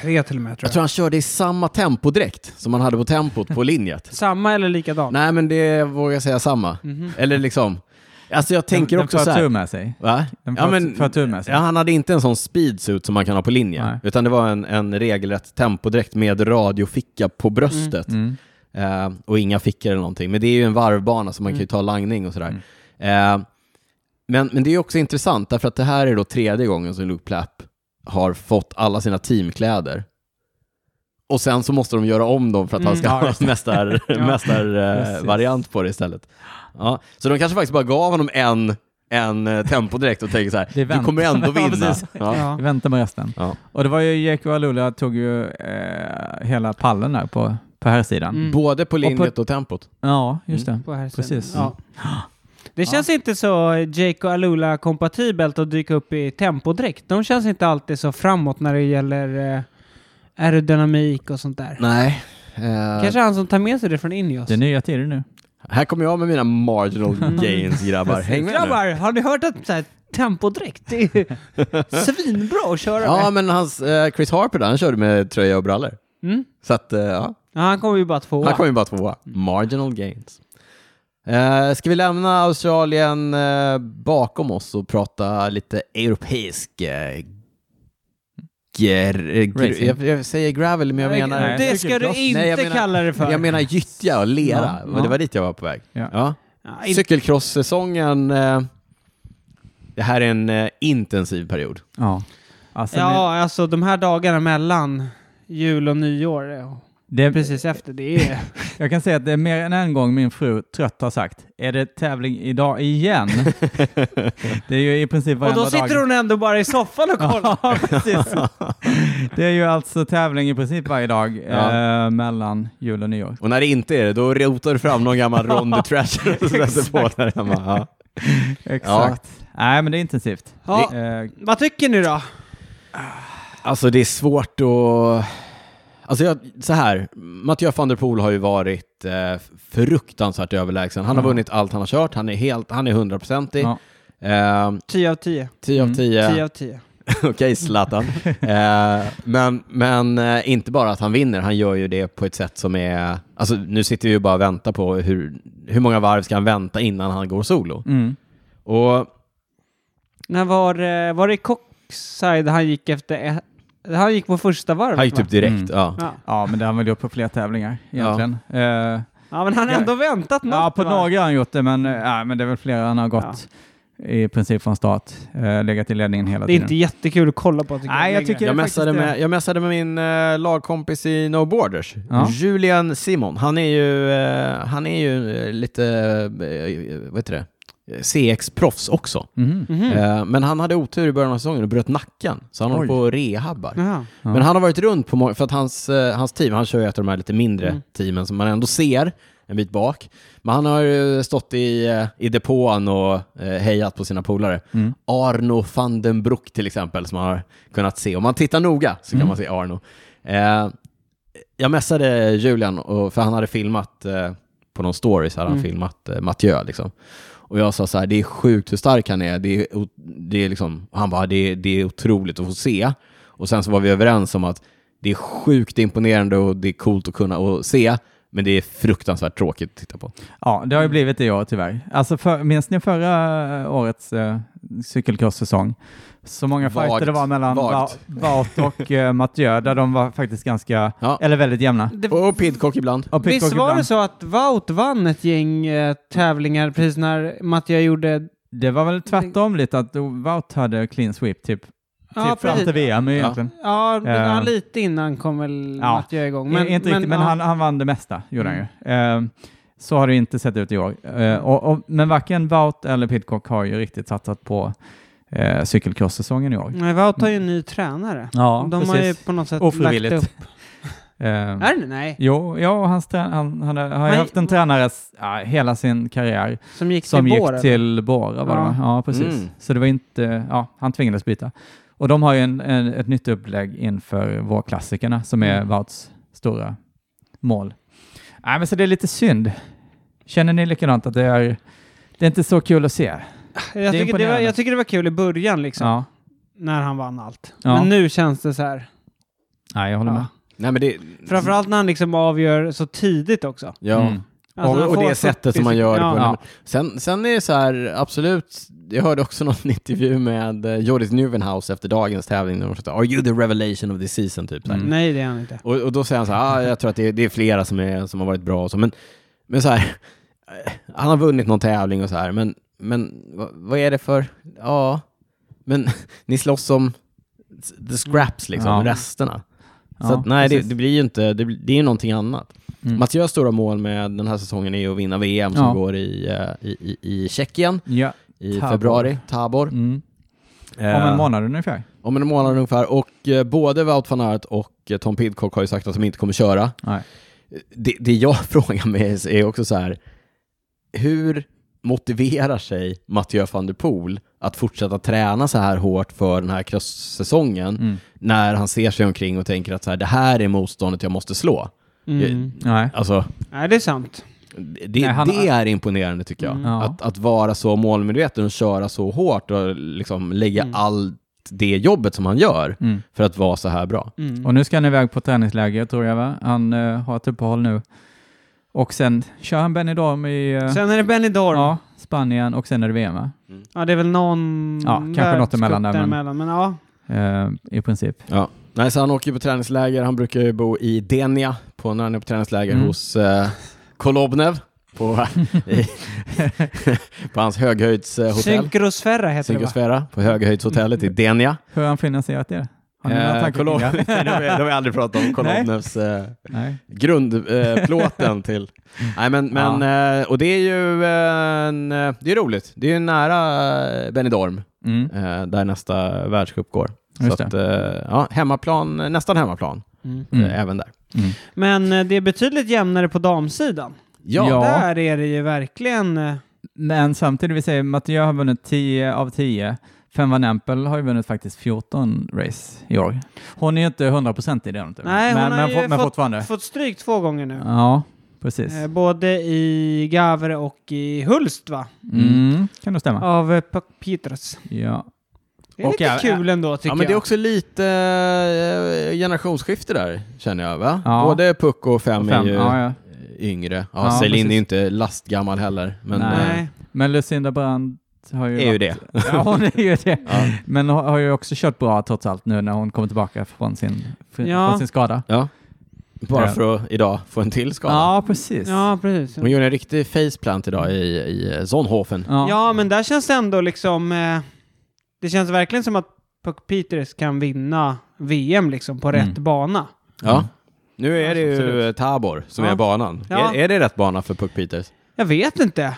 S2: tre till och med tror
S1: Jag
S2: jag.
S1: tror han körde i samma tempodräkt som han hade på tempot på linjet.
S2: Samma eller likadan?
S3: Liksom.
S1: Nej, men det vågar jag säga samma. Eller liksom, alltså jag tänker
S3: Mhm. den,
S1: också
S3: den
S1: så
S3: får tur
S1: här.
S3: med sig.
S1: Va?
S3: Den får, får tur med sig.
S1: ja, han hade inte en sån speedsuit som man kan ha på linje,
S3: Nej.
S1: utan det var en, en regelrätt tempodräkt med radioficka på bröstet
S3: Mm.
S1: eh, och inga fickor eller någonting. Men det är ju en varvbana så man
S3: Mm.
S1: kan ju ta langning och sådär. Eh, men, men det är ju också intressant, därför att det här är då tredje gången som Luke Plapp har fått alla sina teamkläder. Och sen så måste de göra om dem för att han ska
S3: Mm, ja,
S1: ha
S3: just
S1: mästar,
S2: Ja.
S1: mästar, eh,
S3: Precis.
S1: variant på det istället. Ja, så de kanske faktiskt bara gav honom en, en eh, tempodräkt och tänker så
S3: Det är
S1: här, du
S3: vänt."
S1: kommer ändå
S3: Ja,
S1: vinna.
S3: precis.
S1: Ja.
S2: Ja.
S3: Vi väntar med resten.
S1: Ja.
S3: Och det var ju Jake Walula tog ju eh, hela pallen där på, på här sidan.
S2: Mm.
S1: Både på linjet och, tempot.
S3: Ja, just
S1: Mm.
S3: det.
S2: På här sidan.
S3: Precis.
S2: Ja. Det känns inte så Jake och Alula kompatibelt att dyka upp i tempodräkt. De känns inte alltid så framåt när det gäller eh, aerodynamik och sånt där.
S1: Nej. eh,
S2: Kanske han som tar med sig det från Ineos.
S3: Det är nya tider nu.
S1: Här kommer jag med mina marginal gains Mm. grabbar. Häng med nu.
S2: Grabbar, har ni hört att så här, tempodräkt det är svinbra att köra
S1: Ja,
S2: med?
S1: men hans, eh, Chris Harper där, han körde med tröja och brallor.
S2: Mm.
S1: Så att, eh, ja,
S2: Ja, han kommer ju bara tvåa.
S1: han kom ju bara tvåa. Marginal gains. Eh, ska vi lämna Australien eh, bakom oss och prata lite europeisk eh, ger, eh, gr,
S3: Racing.
S1: jag, jag säger gravel, men jag
S2: Nej,
S1: menar...
S3: Nej,
S2: det
S3: jag
S2: ska
S3: tycker
S2: du
S3: cross.
S2: inte
S1: Nej, jag menar-
S2: kalla det för.
S1: Jag menar gyttja och lera,
S3: Ja,
S1: och
S3: ja.
S1: det var dit jag var på väg.
S3: Ja. Ah,
S1: Ja.
S2: Ja, inte-
S1: Cykelcross-säsongen, eh, det här är en eh, intensiv period.
S3: Ja. Alltså,
S2: ja, alltså de här dagarna mellan jul och nyår eh, och
S3: det, det,
S2: precis efter, det är...
S3: jag kan säga att det är mer än en gång min fru trött har sagt, är det tävling idag igen? det är ju i princip
S2: Och
S3: varenda
S2: då sitter
S3: dag.
S2: hon ändå bara i soffan och kollar.
S3: Ja, precis. Det är ju alltså tävling i princip varje dag
S1: Ja.
S3: eh, mellan jul och nyår.
S1: Och när det inte är det, då rotar du fram någon gammal Ron the Trasher och sätter på
S3: Exakt.
S1: där hemma. Ja.
S3: Exakt. Nej, men det är intensivt.
S2: Ja.
S3: Eh,
S2: Vad tycker ni då?
S1: Alltså det är svårt att... Alltså jag, så här, Mattias van der Poel har ju varit eh, fruktansvärt överlägsen. Han har
S3: Ja.
S1: vunnit allt han har kört, han är helt, han är hundraprocentig.
S3: Ja.
S1: Eh,
S2: 10 av 10.
S1: 10 av
S3: Mm.
S1: 10.
S2: 10 av 10.
S1: Okej, Zlatan. eh, men men eh, inte bara att han vinner, han gör ju det på ett sätt som är... Alltså nu sitter vi ju bara och väntar på hur, hur många varv ska han vänta innan han går solo.
S3: mm.
S1: Och
S2: När var, eh, var det i Coxside han gick efter... ett- Han gick på första varvet
S1: han gick typ
S2: va?
S1: direkt.
S3: Mm.
S1: Ja.
S2: Ja.
S3: Ja, men det har han väl gjort på fler tävlingar egentligen. Eh,
S2: ja, men han har ändå väntat något.
S3: ja, på
S2: va?
S3: några har han gjort det, men, äh, men det är väl flera han har gått i princip från start. Eh, legat i ledningen hela
S2: Det är
S3: tiden.
S2: inte jättekul att kolla på.
S3: Nej, jag
S2: längre.
S3: tycker-
S1: Jag
S3: det
S1: mässade,
S3: faktiskt
S1: med, jag mässade med min eh, lagkompis i No Borders,
S3: Ja.
S1: Julian Simon. Han är ju, eh, han är ju eh, lite, eh, vad heter det, eh, CX-proffs också.
S3: Mhm.
S2: Mm.
S1: Eh, Men han hade otur i början av säsongen och bröt nacken, så han håller
S3: Oj.
S1: på och rehabbar.
S2: Jaha.
S3: Ja.
S1: Men han har varit runt på många, för att hans, eh, hans team, han kör ju ett av de här lite mindre
S2: Mm.
S1: teamen som man ändå ser en bit bak. Men han har ju stått i, eh, i depån och eh, hejat på sina polare.
S3: Mm.
S1: Arno van den Broek till exempel, som man har kunnat se. Om man tittar noga så kan
S3: Mm.
S1: man se Arno. Eh, jag messade Julian, och, för han hade filmat eh, på någon story, så hade han
S2: Mm.
S1: filmat eh, Mathieu. Liksom. Och jag sa så här, det är sjukt hur stark han är. Det är, o- det är liksom, han bara, det är, det är otroligt att få se. Och sen så var vi överens om att det är sjukt imponerande och det är coolt att kunna och se, men det är fruktansvärt tråkigt att titta på.
S3: Ja, det har ju blivit det i år tyvärr. Alltså för, minns ni förra årets eh, cykelcross-säsong? Så många
S1: Vagt.
S3: fighter det var mellan
S1: Vagt.
S3: Ba- Baut och eh, Mathieu, där de var faktiskt ganska,
S1: Ja.
S3: eller väldigt jämna.
S2: Det,
S1: Och Pidcock ibland.
S3: Och Pitcock
S2: visst var
S3: ibland.
S2: det så att Wout vann ett gäng eh, tävlingar precis när Mattia gjorde...
S3: Det var väl tvärtom lite, att Wout hade clean sweep typ,
S2: Ja,
S3: typ fram till
S2: precis.
S3: VM
S1: Ja.
S3: egentligen.
S2: Ja, men,
S3: Eh.
S2: ja, lite innan kom väl
S3: Ja.
S2: Mattia igång.
S3: Men, inte riktigt, men
S2: ja. Mm.
S3: han, han vann det mesta, gjorde han ju. Eh, så har det inte sett ut i år. Eh, och, och, men varken Wout eller Pidcock har ju riktigt satsat på eh, cykelcross-säsongen i år.
S2: Nej, Wout har ju en ny tränare.
S3: Ja,
S2: Mm. De har ju på något sätt
S3: Ofrivilligt.
S2: lagt upp...
S3: Eh,
S2: Är det? Nej.
S3: Jo, ja, och hans trä- han, han har har ju
S2: Han-
S3: haft en tränare s- ja, hela sin karriär
S2: Som gick
S3: som
S2: till
S3: gick
S2: Båren.
S3: till Bora. Var det,
S2: Ja.
S3: va? ja, precis.
S1: Mm.
S3: Så det var inte, ja, han tvingades byta. Och de har ju en, en, ett nytt upplägg inför vårklassikerna som
S2: Mm.
S3: är Wouts stora mål. Nej, men så det är lite synd. Känner ni likadant att det är, det är inte så kul att se?
S2: Jag
S3: Det
S2: tycker,
S3: är
S2: det var,
S3: imponerande.
S2: jag tycker det var kul i början liksom.
S3: Ja,
S2: När han vann allt.
S3: Ja.
S2: Men nu känns det så här.
S3: Nej, jag håller
S2: Ja.
S3: med.
S1: Nej, men det,
S2: Framförallt när han liksom avgör så tidigt också.
S1: ja.
S3: Mm.
S2: Alltså, han
S1: och, och
S2: får
S1: det sättet
S2: 40
S1: som man gör det
S2: ja.
S1: på.
S3: Ja.
S1: Sen, sen är det så här, absolut, jag hörde också någon intervju med eh, Jordis Nuvenhouse efter dagens tävling. Där de sa, Are you the revelation of the season? Typ, så här.
S3: Mm.
S2: Nej, det är han inte.
S1: Och, och då säger han så här, ah, jag tror att det, det är flera som, är, som har varit bra och så, men, men så här, eh, han har vunnit någon tävling och så här, men, men vad, vad är det för, ja, men ni slåss om s- the scraps liksom,
S3: Ja.
S1: resterna. Så
S3: Ja,
S1: att, nej, det,
S3: precis.
S1: det blir ju inte, det, blir- det är ju någonting annat.
S3: Mm.
S1: Mattias stora mål med den här säsongen är ju att vinna VM som
S3: Ja.
S1: går i, eh, i, i, i Tjeckien
S3: Ja.
S1: i
S3: Tabor.
S1: februari, Tabor.
S3: Mm. Om
S1: Eh,
S3: en månad ungefär.
S1: om en månad ungefär. Och eh, både Wout van Aert och eh, Tom Pidcock har ju sagt att de inte kommer köra.
S3: Nej.
S1: Det, det jag frågar mig är- är också så här, hur motiverar sig Mathieu van der Poel att fortsätta träna så här hårt för den här cross-säsongen
S3: Mm.
S1: när han ser sig omkring och tänker att så här, det här är motståndet jag måste slå?
S2: Mm.
S3: Nej.
S1: Alltså,
S2: Nej, det är sant.
S1: det,
S3: Nej, han-
S1: det är imponerande tycker jag.
S2: Mm.
S3: Ja.
S1: Att, att vara så målmedveten och köra så hårt och liksom lägga
S2: Mm.
S1: allt det jobbet som han gör
S3: Mm.
S1: för att vara så här bra.
S2: Mm.
S3: Och nu ska han iväg på träningsläger tror jag va? Han eh, har ett uppehåll nu. Och sen kör han Benidorm i eh,
S2: Sen är det Benidorm. Ja.
S3: ja, Spanien och sen är det VM va?
S2: det är väl någon...
S3: Ja, kanske något emellan där, men-
S2: Men... men ja.
S3: Eh, I princip.
S1: Ja. Nej, så han åker ju på träningsläger. Han brukar ju bo i Denia på, när han är på träningsläger
S3: Mm.
S1: hos eh, Kolobnev på, i, på hans höghöjdshotell.
S2: Synkrosfera heter det va?
S1: Synkosfera på höghöjdshotellet i Denia.
S3: Hur har han finansierat det? Mm. Har ni några
S1: Eh,
S3: tankar
S1: Kolob-
S3: kring det?
S1: Nej, det har vi- det har vi aldrig pratat om. Kolobnevs eh,
S3: Nej.
S1: grundplåten eh, plåten till... Nej, men, men, eh, och det är ju eh, en, eh, det är roligt. Det är ju nära eh, Benidorm,
S3: Mm.
S1: eh, där nästa världscup går.
S3: Just
S1: Så att, eh, ja, hemmaplan, eh, nästan hemmaplan,
S2: Mm.
S3: Mm.
S1: eh, även där.
S3: Mm.
S2: Men eh, det är betydligt jämnare på damsidan.
S1: Ja,
S3: Ja.
S2: Där är det ju verkligen... eh,
S3: Men samtidigt, vi säger Mathieu har vunnit 10 av 10. Fem Van Empel har ju vunnit faktiskt 14 race i år. Hon är ju inte 100% i det. Inte.
S2: Nej, hon
S3: men,
S2: har
S3: men,
S2: ju
S3: fort- men
S2: fått-
S3: fortfarande.
S2: Fått stryk två gånger nu.
S3: Ja, precis.
S2: Eh, Både i Gavre och i Hulst va?
S3: Mm. Kan nog stämma.
S2: Av eh, Puck Peters.
S3: Ja.
S2: Det är
S3: Och
S2: lite
S3: Gavre-
S2: kul ändå tycker
S1: ja, men det är
S2: jag.
S1: också lite eh, generationsskifte där, känner jag. Va?
S3: Ja.
S1: Både Puck och Fem,
S3: Fem.
S1: är ju
S3: Ja, ja.
S1: yngre. Ja,
S3: Ja,
S1: Celine är
S3: precis.
S1: ju inte lastgammal heller, men
S3: Nej.
S1: eh,
S2: Nej.
S3: Men Lucinda Brandt har ju
S1: är ju
S3: varit-
S1: det.
S3: Ja, hon är ju det.
S1: Ja.
S3: Men hon har ju också kört bra trots allt nu när hon kommer tillbaka från sin, fr-
S2: Ja.
S3: från sin skada.
S1: Ja. Bara
S3: Ja.
S1: för att idag få en till skada.
S3: Ja, precis.
S2: Ja, precis.
S1: Hon gjorde en riktig faceplant idag i, i Zonhofen.
S3: Ja.
S2: Ja, men där känns det ändå liksom... Eh, det känns verkligen som att Puck Peters kan vinna VM liksom på
S3: Mm.
S2: rätt bana.
S1: Ja. Nu är det ju
S3: Absolut.
S1: Tabor som
S2: Ja.
S1: är banan.
S2: Ja.
S1: Är, är det rätt bana för Puck Peters?
S2: Jag vet inte.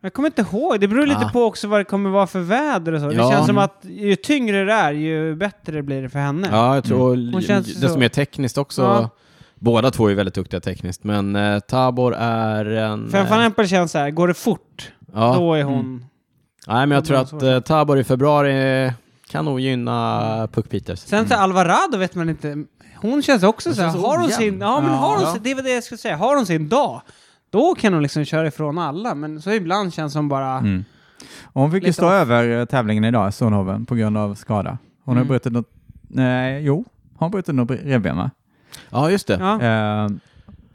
S2: Jag kommer inte ihåg. Det beror lite
S1: Ah.
S2: på också vad det kommer vara för väder och så.
S1: Ja.
S2: Det känns som att ju tyngre det är, ju bättre blir det för henne.
S1: Ja, jag tror
S2: Hon känns
S1: desto
S2: så-
S1: mer tekniskt också.
S2: Ja.
S1: Båda två är väldigt duktiga tekniskt, men eh, Tabor är en...
S2: Fem Van
S1: eh,
S2: Empel känns så här, går det fort,
S1: ja. Mm.
S2: då är hon...
S1: Nej, men jag tror
S2: Då
S1: att eh, Tabor i februari kan nog gynna Puck Peters.
S2: Sen så Alvarado vet man inte. Hon känns också så här,
S1: känns
S2: har hon
S1: ojämn.
S2: sin... Ja, men har hon
S1: Ja.
S2: sin, det var det jag skulle säga. Har hon sin dag, då kan hon liksom köra ifrån alla. Men så ibland känns hon bara...
S3: Mm. Och Hon fick ju
S2: Lite
S3: stå
S2: off.
S3: över eh, tävlingen idag, Sonhoven, på grund av skada. Hon har
S2: Mm.
S3: brutit något... Nej, jo. Har hon brutit något revben, va?
S1: Ja, just det. Ja,
S2: Ja.
S3: Eh,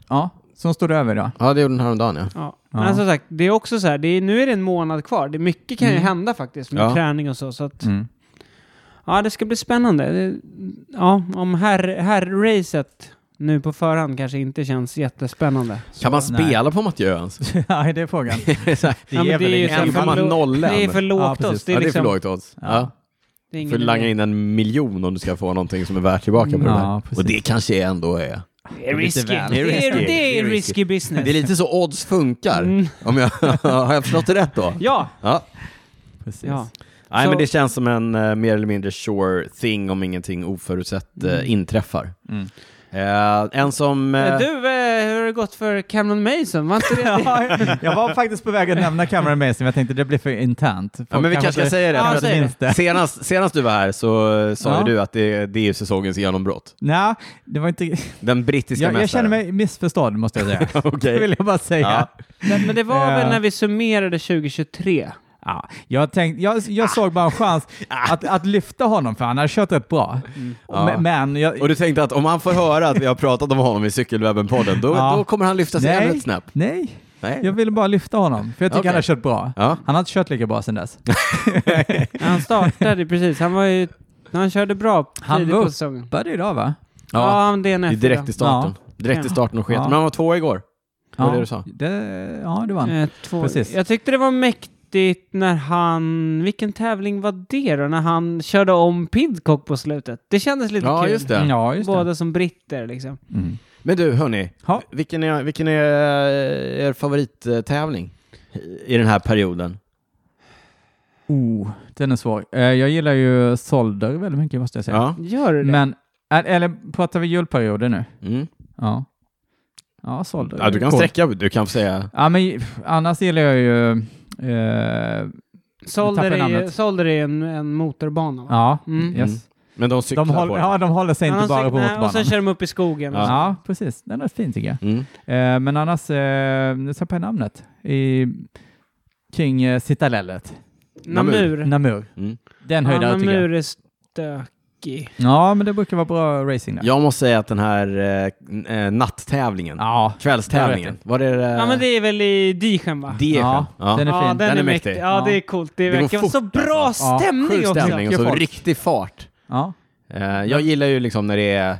S3: ja, så hon stod över idag.
S1: det gjorde den häromdagen ja.
S2: Ja.
S3: Ja.
S2: Men som sagt, det är också så här, det är, nu är det en månad kvar. Det, mycket kan
S3: Mm.
S2: ju hända faktiskt med
S1: Ja.
S2: träning och så. så att,
S3: Mm.
S2: Ja, det ska bli spännande. Det, ja, om herr, herrracet nu på förhand kanske inte känns jättespännande.
S1: Kan man
S3: nej.
S1: spela på Mathieu ens?
S3: ja, det är frågan.
S1: Så här,
S3: Det är väl
S2: ju
S3: ingen-
S2: så här för
S1: 1,0.
S2: lo- Det är för lågt
S3: Ja, precis.
S2: oss. Det
S1: ja,
S2: är,
S1: det är
S2: liksom,
S1: för lågt odds.
S3: Ja.
S1: Ja. Du
S2: det är ingen
S1: får langa
S2: idé.
S1: in en miljon om du ska få någonting som är värt tillbaka på
S2: Ja,
S1: det där.
S3: precis.
S1: Och det kanske ändå är...
S2: Det är risky.
S3: väl.
S2: Det
S1: Det är risky.
S2: är, det är
S1: Det är
S2: risky
S1: risky.
S2: business.
S1: Det är lite så odds funkar.
S2: Mm.
S1: Om jag, har jag förstått det rätt då?
S2: Ja,
S1: Ja.
S3: Precis.
S2: ja.
S1: Nej,
S2: Så-
S1: men det känns som en eh, mer eller mindre sure thing om ingenting oförutsett eh, inträffar.
S3: Mm.
S1: Eh, en som... eh,
S2: Du, eh, hur har det gått för Cameron Mason? Var inte det...
S3: Ja, jag var faktiskt på väg att nämna Cameron Mason, men jag tänkte det blir för internt.
S1: ja, men vi kanske ska säga det.
S2: Ja,
S1: för att
S2: säg det.
S3: minst det.
S1: senast, senast du var här så eh, sa
S3: Ja.
S1: ju du att det, det är ju säsongens genombrott.
S3: Nej, det var inte...
S1: Den brittiska
S3: Jag, jag
S1: mästaren.
S3: känner mig missförstådd, måste jag säga.
S1: Okej.
S3: Det vill jag bara säga.
S1: Ja.
S2: Men, men det var väl
S3: Eh.
S2: när vi summerade 2023?
S3: Ja, jag, tänkte, jag, jag såg bara en chans att, att lyfta honom, för han hade kört rätt bra.
S1: Ah. Mm. Ja.
S3: Men, men jag,
S1: Och du tänkte att om han får höra att vi har pratat om honom i Cykelwebben-podden, då,
S3: Ja.
S1: då kommer han lyfta sig ännu
S3: nej,
S1: ett snäpp.
S3: nej,
S1: Nej.
S3: jag ville bara lyfta honom, för jag tycker
S1: Okej.
S3: han har kört bra.
S1: Ja.
S3: Han har inte kört lika bra sedan dess.
S2: Han startade precis. Han var ju... Han körde bra
S3: Han
S2: tidigt på
S3: var-
S2: säsongen.
S3: Började idag va?
S1: Ja,
S2: Ja, men det är en
S1: det är
S2: efter.
S1: direkt i starten. Direkt i starten och sket.
S3: Ja.
S1: Men han var två igår. Vad var det du sa?
S3: Det, ja, det var han.
S2: Eh, två.
S3: Precis.
S2: Jag tyckte det var mäktigt när han... Vilken tävling var det då? När han körde om Pidcock på slutet. Det kändes lite
S1: Ja,
S2: kul.
S1: just det.
S3: Ja, just det.
S2: Båda som britter liksom.
S3: Mm.
S1: Men du, hörni.
S3: Ja.
S1: Vilken är, vilken är eh, er favorittävling i- i den här perioden?
S3: Oh, den är svår. Eh, Jag gillar ju Solder väldigt mycket, måste jag säga.
S1: Ja.
S2: Gör du det?
S3: Men, ä- eller pratar vi julperioder nu?
S1: Mm.
S3: Ja. Ja, Solder.
S1: ja, du kan
S3: Cool.
S1: sträcka, du kan säga.
S3: Ja, men annars gillar jag ju... eh,
S2: Solder
S3: tappade
S2: är,
S3: namnet.
S2: Solder är en, en motorbana va?
S3: ja,
S2: Mm.
S1: Mm.
S3: yes.
S1: Men de cyklar
S3: De, håll,
S1: på det.
S3: ja, de håller sig inte
S2: Annars-
S3: bara på
S2: nej, Och sen
S3: motorbanan.
S2: kör de upp i skogen.
S1: Ja.
S2: Ja.
S3: Ja, precis. Den är fin tycker jag.
S1: Mm.
S3: Eh, men annars, eh, nu tappade jag namnet. I, kring eh, Citadellet.
S2: Namur.
S3: Namur.
S1: Mm.
S3: Den
S2: Ja,
S3: höjdare tycker jag.
S2: Namur är stökig.
S1: Äh.
S3: Ja, men det brukar vara bra racing där.
S1: Jag måste säga att den här eh, eh, natttävlingen,
S3: Ja,
S1: kvällstävlingen, var det eh,
S2: Ja men det är väl i Dijon va?
S1: det
S3: Ja,
S1: ja.
S3: den är
S2: ja,
S3: fin.
S2: den,
S1: Den
S2: är
S1: är
S2: mäktig.
S1: mäktig.
S2: Ja,
S3: Ja.
S2: det är coolt. Det,
S1: Det går
S2: verkar vara så
S1: fort,
S2: bra
S1: alltså.
S3: Ja,
S2: stämning
S1: Sjuk
S2: också.
S1: stämning och
S3: Mycket
S1: så
S3: folk.
S1: riktig fart.
S3: ja,
S1: Eh, jag gillar ju liksom när det är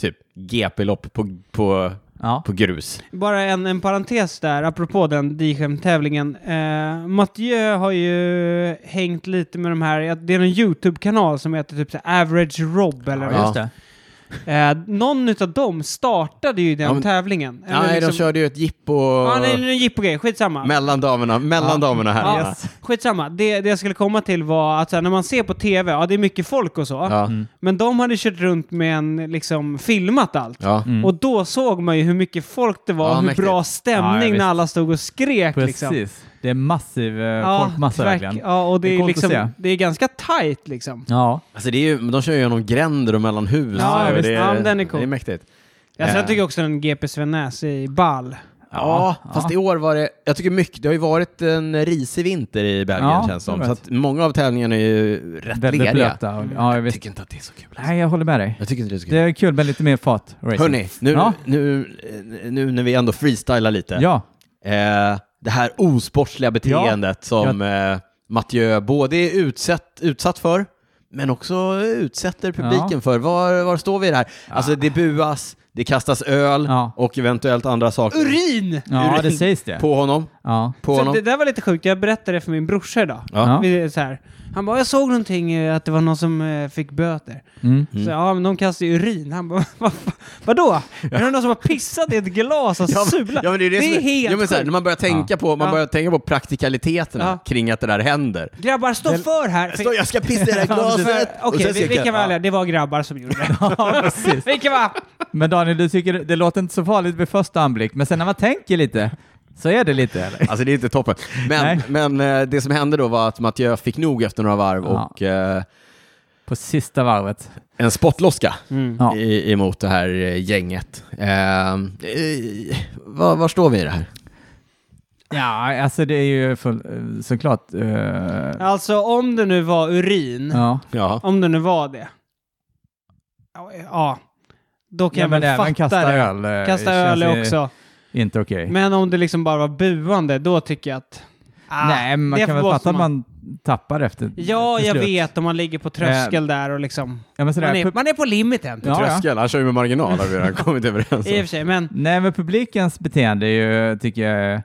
S1: typ GP-lopp på, på,
S3: ja.
S1: på grus.
S2: Bara en, en parentes där, apropå den Dijon-tävlingen. Eh, Mathieu har ju hängt lite med de här, det är en YouTube-kanal som heter typ så här Average Rob eller
S3: ja,
S2: något.
S3: just det.
S2: Eh, någon utav dem startade ju den
S1: Ja, men-
S2: tävlingen. Eller
S1: Nej,
S2: liksom-
S1: de körde ju ett jippo
S2: Ja, det är en jippogrej, skitsamma.
S1: mellan damerna, mellan
S3: Ja.
S1: damerna här.
S2: Ja, Skitsamma, det, det jag skulle komma till var att så här, när man ser på TV, ja det är mycket folk och så,
S1: Ja.
S3: Mm.
S2: men de hade kört runt med en, liksom filmat allt.
S1: Ja.
S3: Mm.
S2: Och då såg man ju hur mycket folk det var
S1: Ja,
S2: och hur
S1: mäktigt.
S2: bra
S3: Ja, ja,
S2: stämning
S3: visst.
S2: när alla stod och skrek.
S3: Precis.
S2: Liksom.
S3: Det är massiv eh, folkmassa
S2: verk-
S3: verkligen. Ja.
S2: Ja, och det,
S3: Det är
S2: är,
S3: coolt att se.
S2: liksom, det är ganska tight liksom.
S3: ja.
S1: Alltså det är ju, de kör ju genom gränder och mellan hus.
S2: Ja,
S1: och
S2: visst.
S1: det,
S2: Ja, men den är cool.
S1: det är mäktigt.
S2: Ja, sen
S1: Eh.
S2: tycker jag också den GP Svennäs i ball.
S1: Ja,
S3: Ja.
S1: fast i år var det, jag tycker mycket, det har ju varit en risig vinter i Belgien
S3: Ja,
S1: känns det
S3: jag
S1: som.
S3: vet.
S1: Så att många av tävlingarna är ju rätt
S3: Väldigt
S1: leriga.
S3: blöta. Och, ja,
S1: Jag
S3: visst.
S1: tycker inte att det är så kul. alltså.
S3: Nej, jag håller med dig.
S1: Jag tycker inte det är så
S3: Det
S1: kul.
S3: är kul med lite mer fart. racing.
S1: Hörni, nu,
S3: Ja.
S1: nu, nu när vi ändå freestylar lite.
S3: Ja,
S1: Eh, det här osportsliga beteendet som eh, Mathieu både är utsatt, utsatt för, men också utsätter publiken
S3: Ja.
S1: för. Var, var står vi i det här? Alltså det buas, det kastas öl
S3: Ja.
S1: och eventuellt andra saker
S2: Urin!
S3: ja det sägs det.
S1: på honom.
S3: Ja.
S1: På
S2: Så
S1: honom.
S2: det där var lite sjukt, jag berättade det för min brorsa idag.
S1: Ja.
S2: Vi är så här. Han bara, jag såg någonting, eh, att det var någon som eh, fick böter.
S3: Mm.
S1: Mm.
S2: Så ja, men de kastar ju urin. Han bara, vad, fa- vadå? Är det någon som har pissat i ett glas och sulat?
S1: ja, men det är, det som är
S2: helt
S1: ja, men så här,
S2: sjukt.
S1: När man börjar tänka på, man
S2: Ja.
S1: börjar tänka på praktikaliteterna
S2: Ja.
S1: kring att det där händer.
S2: Grabbar, stå för här!
S1: Stå, jag ska pissa i det här glaset!
S2: För-
S1: Och
S2: Okej,
S1: sen
S2: vi, vi
S1: cirka-
S2: kan vara ärliga. Det var grabbar som gjorde det.
S3: Ja, precis.
S2: Vi kan vara...
S3: Men Daniel, du tycker det låter inte så farligt vid första anblick, men sen när man tänker lite så är det lite, eller?
S1: Alltså det är inte toppen. Men,
S3: Nej.
S1: men eh, det som hände då var att Mathieu fick nog efter några varv
S3: Ja.
S1: och eh,
S3: På sista varvet.
S1: en spottloska
S2: Mm.
S3: Ja.
S1: i, emot det här eh, gänget. Eh, eh, var, var står vi i det här?
S3: Ja, alltså det är ju full, såklart... eh, ja.
S2: Alltså, om det nu var urin,
S1: Ja.
S2: om det nu var det, ja, ja då kan
S3: Ja,
S2: jag
S3: men
S2: väl
S3: även
S2: fatta
S3: kasta
S2: det.
S3: öl. eh,
S2: Kasta
S3: känns
S2: öl
S3: ju
S2: är också.
S3: Inte okej.
S2: Men om det liksom bara var buande, då tycker jag att... Ah,
S3: Nej, men man
S2: det
S3: kan väl
S2: måste
S3: fatta att man tappar efter
S2: Ja,
S3: till
S2: jag
S3: slut.
S2: vet om man ligger på tröskel där och liksom...
S3: Ja, men sådär,
S2: Man är,
S3: pub-
S2: man är på limiten.
S3: Ja, alltså. ja.
S1: Tröskel, han kör ju med marginal har vi redan kommit överens
S2: I och
S1: om.
S2: för sig, men...
S3: Nej, men publikens beteende är ju, tycker jag, är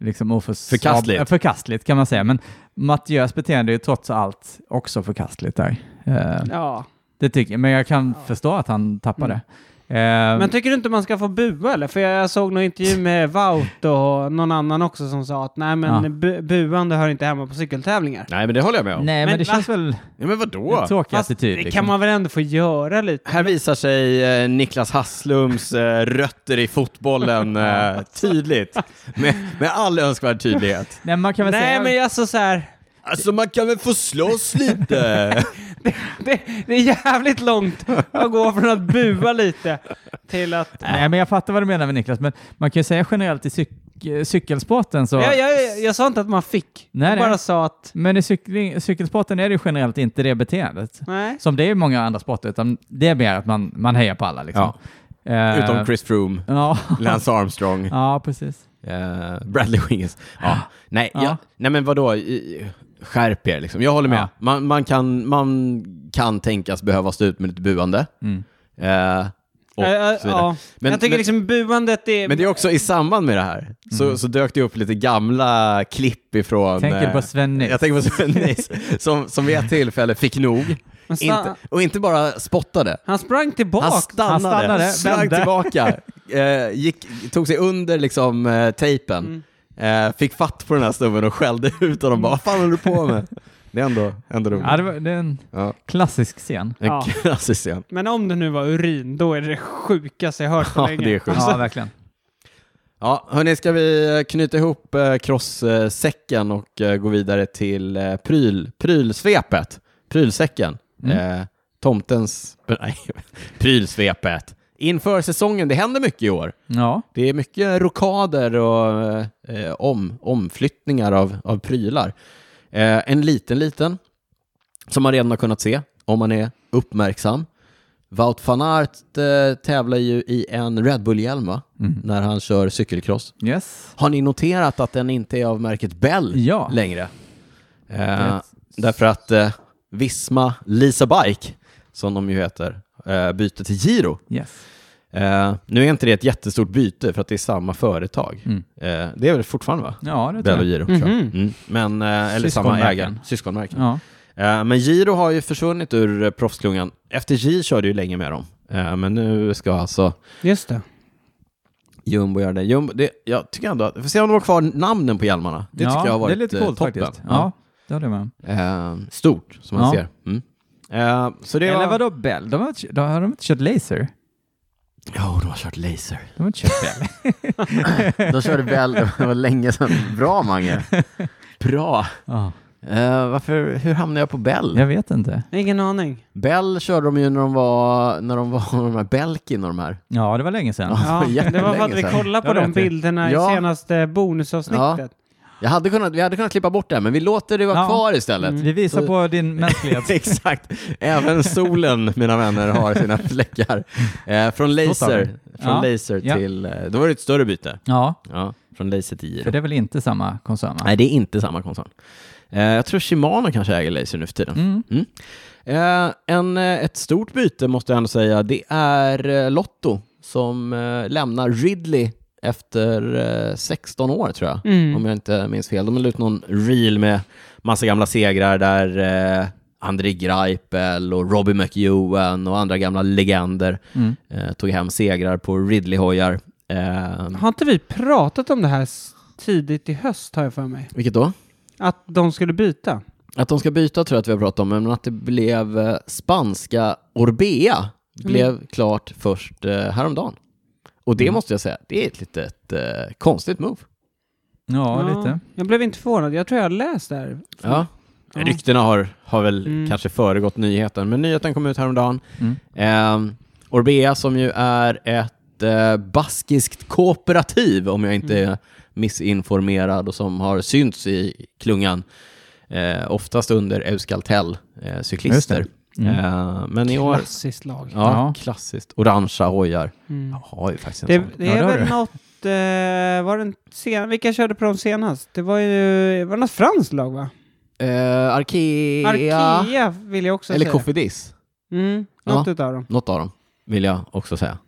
S3: liksom oförs-
S1: Förkastligt.
S3: Ja, förkastligt kan man säga. Men Mattias beteende är ju trots allt också förkastligt där. Eh,
S2: Ja.
S3: Det tycker jag, men jag kan förstå att han tappar det. Eh,
S2: Mm. Men tycker du inte man ska få bua eller? För jag, jag såg någon intervju med Wout och någon annan också som sa att nej men
S3: Ja.
S2: bu buande hör inte hemma på cykeltävlingar.
S1: Nej men det håller jag med om.
S3: nej, men,
S2: men
S3: det
S2: va?
S3: känns väl
S1: Ja, men
S3: en
S1: vadå?
S3: tråkig
S2: Fast
S3: attityd.
S2: det
S3: liksom.
S2: kan man väl ändå få göra lite?
S1: Här visar sig eh, Niklas Hasslums eh, rötter i fotbollen eh, tydligt. Med, med all önskvärd tydlighet.
S3: Nej, man kan väl
S2: Nej
S3: säga...
S2: men alltså så här,
S1: Alltså man kan väl få slåss lite?
S2: det, det är jävligt långt att gå från att bua lite till att...
S3: Nej, men jag fattar vad du menar med Niklas, men man kan ju säga generellt i cyk- cykelsporten så...
S2: Jag, jag, jag sa inte att man fick,
S3: Nej,
S2: jag
S3: nej.
S2: bara sa att...
S3: Men i cykling, cykelsporten är det ju generellt inte det beteendet.
S2: Nej.
S3: Som det är i många andra sporter, utan det är mer att man, man hejar på alla. Liksom. Eh,
S1: Utom Chris Froome,
S3: Ja,
S1: Lance Armstrong,
S3: ja precis.
S1: eh, Bradley Wiggins. Ja. Nej,
S3: Ja.
S1: jag, nej men vadå? I- i- Skärp er liksom. Jag håller med.
S3: Ja.
S1: Man, man, kan, man kan tänkas behöva stå ut med lite buande.
S3: Mm.
S1: Eh, och
S2: Ja, ja,
S1: så vidare.
S2: Äh, ja.
S1: Men-
S2: jag tycker
S1: men-
S2: liksom buandet är...
S1: Men det är också i samband med det här så, så dök det upp lite gamla klipp ifrån...
S3: Tänker
S1: eh,
S3: på Sven Nilsson.
S1: Jag tänker på Sven Nils, som, som vid ett tillfälle fick nog.
S2: han, sta-
S1: Inte, och inte bara spottade.
S2: han sprang tillbaka.
S1: Han stannade, han
S3: stannade,
S1: sprang
S3: vände.
S1: tillbaka, eh, gick, tog sig under liksom, eh, tejpen, eh, fick fatt på den här snubben och skällde ut honom. Bara, Vad fan håller du på med? Det är ändå, ändå roligt.
S3: Ja, det, var, det är en
S1: Ja.
S3: klassisk scen.
S1: En
S2: Ja.
S1: klassisk scen.
S2: Men om det nu var urin, då är det det sjukaste jag hört på
S1: Ja,
S2: länge. Alltså,
S1: det är sjukt.
S3: Ja, verkligen.
S1: Ja, hörni, ska vi eh, knyta ihop eh, crosssäcken och eh, gå vidare till eh, pryl, prylsvepet? Prylsäcken?
S3: Mm.
S1: Eh, tomtens... Nej, prylsvepet. Inför säsongen, det händer mycket i år.
S3: Ja,
S1: Det är mycket rokader och eh, om, omflyttningar av, av prylar. Eh, en liten, liten, som man redan har kunnat se om man är uppmärksam. Wout van Aert eh, tävlar ju i en Red Bull-hjälm, va? när han kör cykelcross.
S3: yes.
S1: Har ni noterat att den inte är av märket Bell
S3: Ja.
S1: längre? Eh,
S3: Rätt.
S1: därför att eh, Visma Lisa Bike, som de ju heter, eh, byter till Giro.
S3: yes.
S1: Eh, nu är inte det ett jättestort byte för att det är samma företag.
S3: Mm.
S1: Eh, det är väl fortfarande va?
S3: Ja,
S1: Bell
S3: det tror
S1: och
S3: jag.
S1: Giro. tror jag.
S2: Mhm.
S1: Mm. Men, eh, eller samma
S3: Syskonmärken.
S1: ägare, syskonmärken.
S3: Ja.
S1: Eh, men Giro har ju försvunnit ur eh, proffsklungan. FTG körde ju länge med dem, eh, men nu ska alltså
S2: Just det.
S1: Jumbo gör det. Jumbo, det jag tycker ändå att, vi får se om de har kvar namnen på hjälmarna. Det
S3: ja,
S1: tycker jag har varit
S3: det är lite
S1: eh,
S3: coolt
S1: toppen.
S3: faktiskt. Ja, det håller jag med om.
S1: Eh, stort, som man
S3: Ja.
S1: ser. Mm. Eh, så det
S3: Eller
S1: var...
S3: vadå Bell? De har, inte- de har de inte kört laser?
S1: Ja, de har kört laser.
S3: De har inte kört Bell.
S1: De körde väl, det var länge sedan. Bra, Mange. Bra.
S3: ja,
S1: Eh, varför, hur hamnade jag på Bell?
S3: jag vet inte.
S2: Ingen aning.
S1: Bell körde de ju när de var, när de var de här Belkin och de här.
S3: Ja, det var länge sedan.
S1: Ja,
S2: Ja, det var för att vi
S1: jättelänge sedan.
S2: kollade på
S3: Ja, det
S2: de
S3: vet jag.
S2: bilderna
S1: Ja.
S2: i senaste bonusavsnittet.
S1: Jag hade kunnat, vi hade kunnat klippa bort det här, men vi låter det vara
S3: Ja. Mm,
S1: kvar istället.
S3: Vi visar
S1: Så-
S3: på din mänsklighet.
S1: Exakt. Även solen, mina vänner, har sina fläckar. Eh, från laser,
S3: Så tar vi.
S1: från
S3: Ja.
S1: laser
S3: Ja.
S1: till... Eh, då var det ett större byte.
S3: Ja,
S1: Ja, från laser till
S3: för
S1: Giro.
S3: det är väl inte samma koncern? va?
S1: Nej, det är inte samma koncern. Eh, jag tror Shimano kanske äger laser nu för tiden.
S3: Mm.
S1: Eh, en, eh, ett stort byte måste jag ändå säga. Det är eh, Lotto som eh, lämnar Ridley efter eh, 16 år tror jag,
S2: Mm.
S1: om jag inte minns fel. De la ut någon reel med massa gamla segrar där eh, André Greipel och Robbie McEwen och andra gamla legender
S3: Mm.
S1: eh, tog hem segrar på Ridley-hojar. Eh,
S2: Har inte vi pratat om det här s- tidigt i höst, har jag för mig?
S1: vilket då?
S2: Att de skulle byta.
S1: Att de ska byta tror jag att vi har pratat om, men att det blev eh, spanska Orbea blev klart först eh, häromdagen. Och det
S3: Mm.
S1: måste jag säga, det är ett litet eh, konstigt move.
S3: Ja, lite.
S2: Jag blev inte förvånad. Jag tror jag har läst det här.
S1: Mm. Ja.
S2: Ja.
S1: Ryktena har, har väl
S2: Mm.
S1: kanske föregått nyheten, men nyheten kom ut häromdagen.
S3: Mm.
S1: Ehm, Orbea som ju är ett eh, baskiskt kooperativ, om jag inte är missinformerad, och som har synts i klungan, eh, oftast under Euskaltel-cyklister.
S3: Just Mm.
S1: Ehm, men i år...
S2: Klassiskt lag.
S1: Ja,
S3: Ja.
S1: klassiskt. Orangea hojar.
S2: Mm.
S1: Jag har ju faktiskt en
S2: Det,
S1: sån.
S2: det
S3: Ja,
S2: är
S3: det har
S2: väl
S3: du.
S2: något... Eh, var den sen, vilka körde på dem senast? Det var ju... Var det något franskt lag, va?
S1: Eh, Arkea...
S2: Arkea vill jag också
S1: Eller
S2: säga.
S1: Kofidis.
S2: Mm, något utav dem.
S1: Något av dem, vill jag också säga.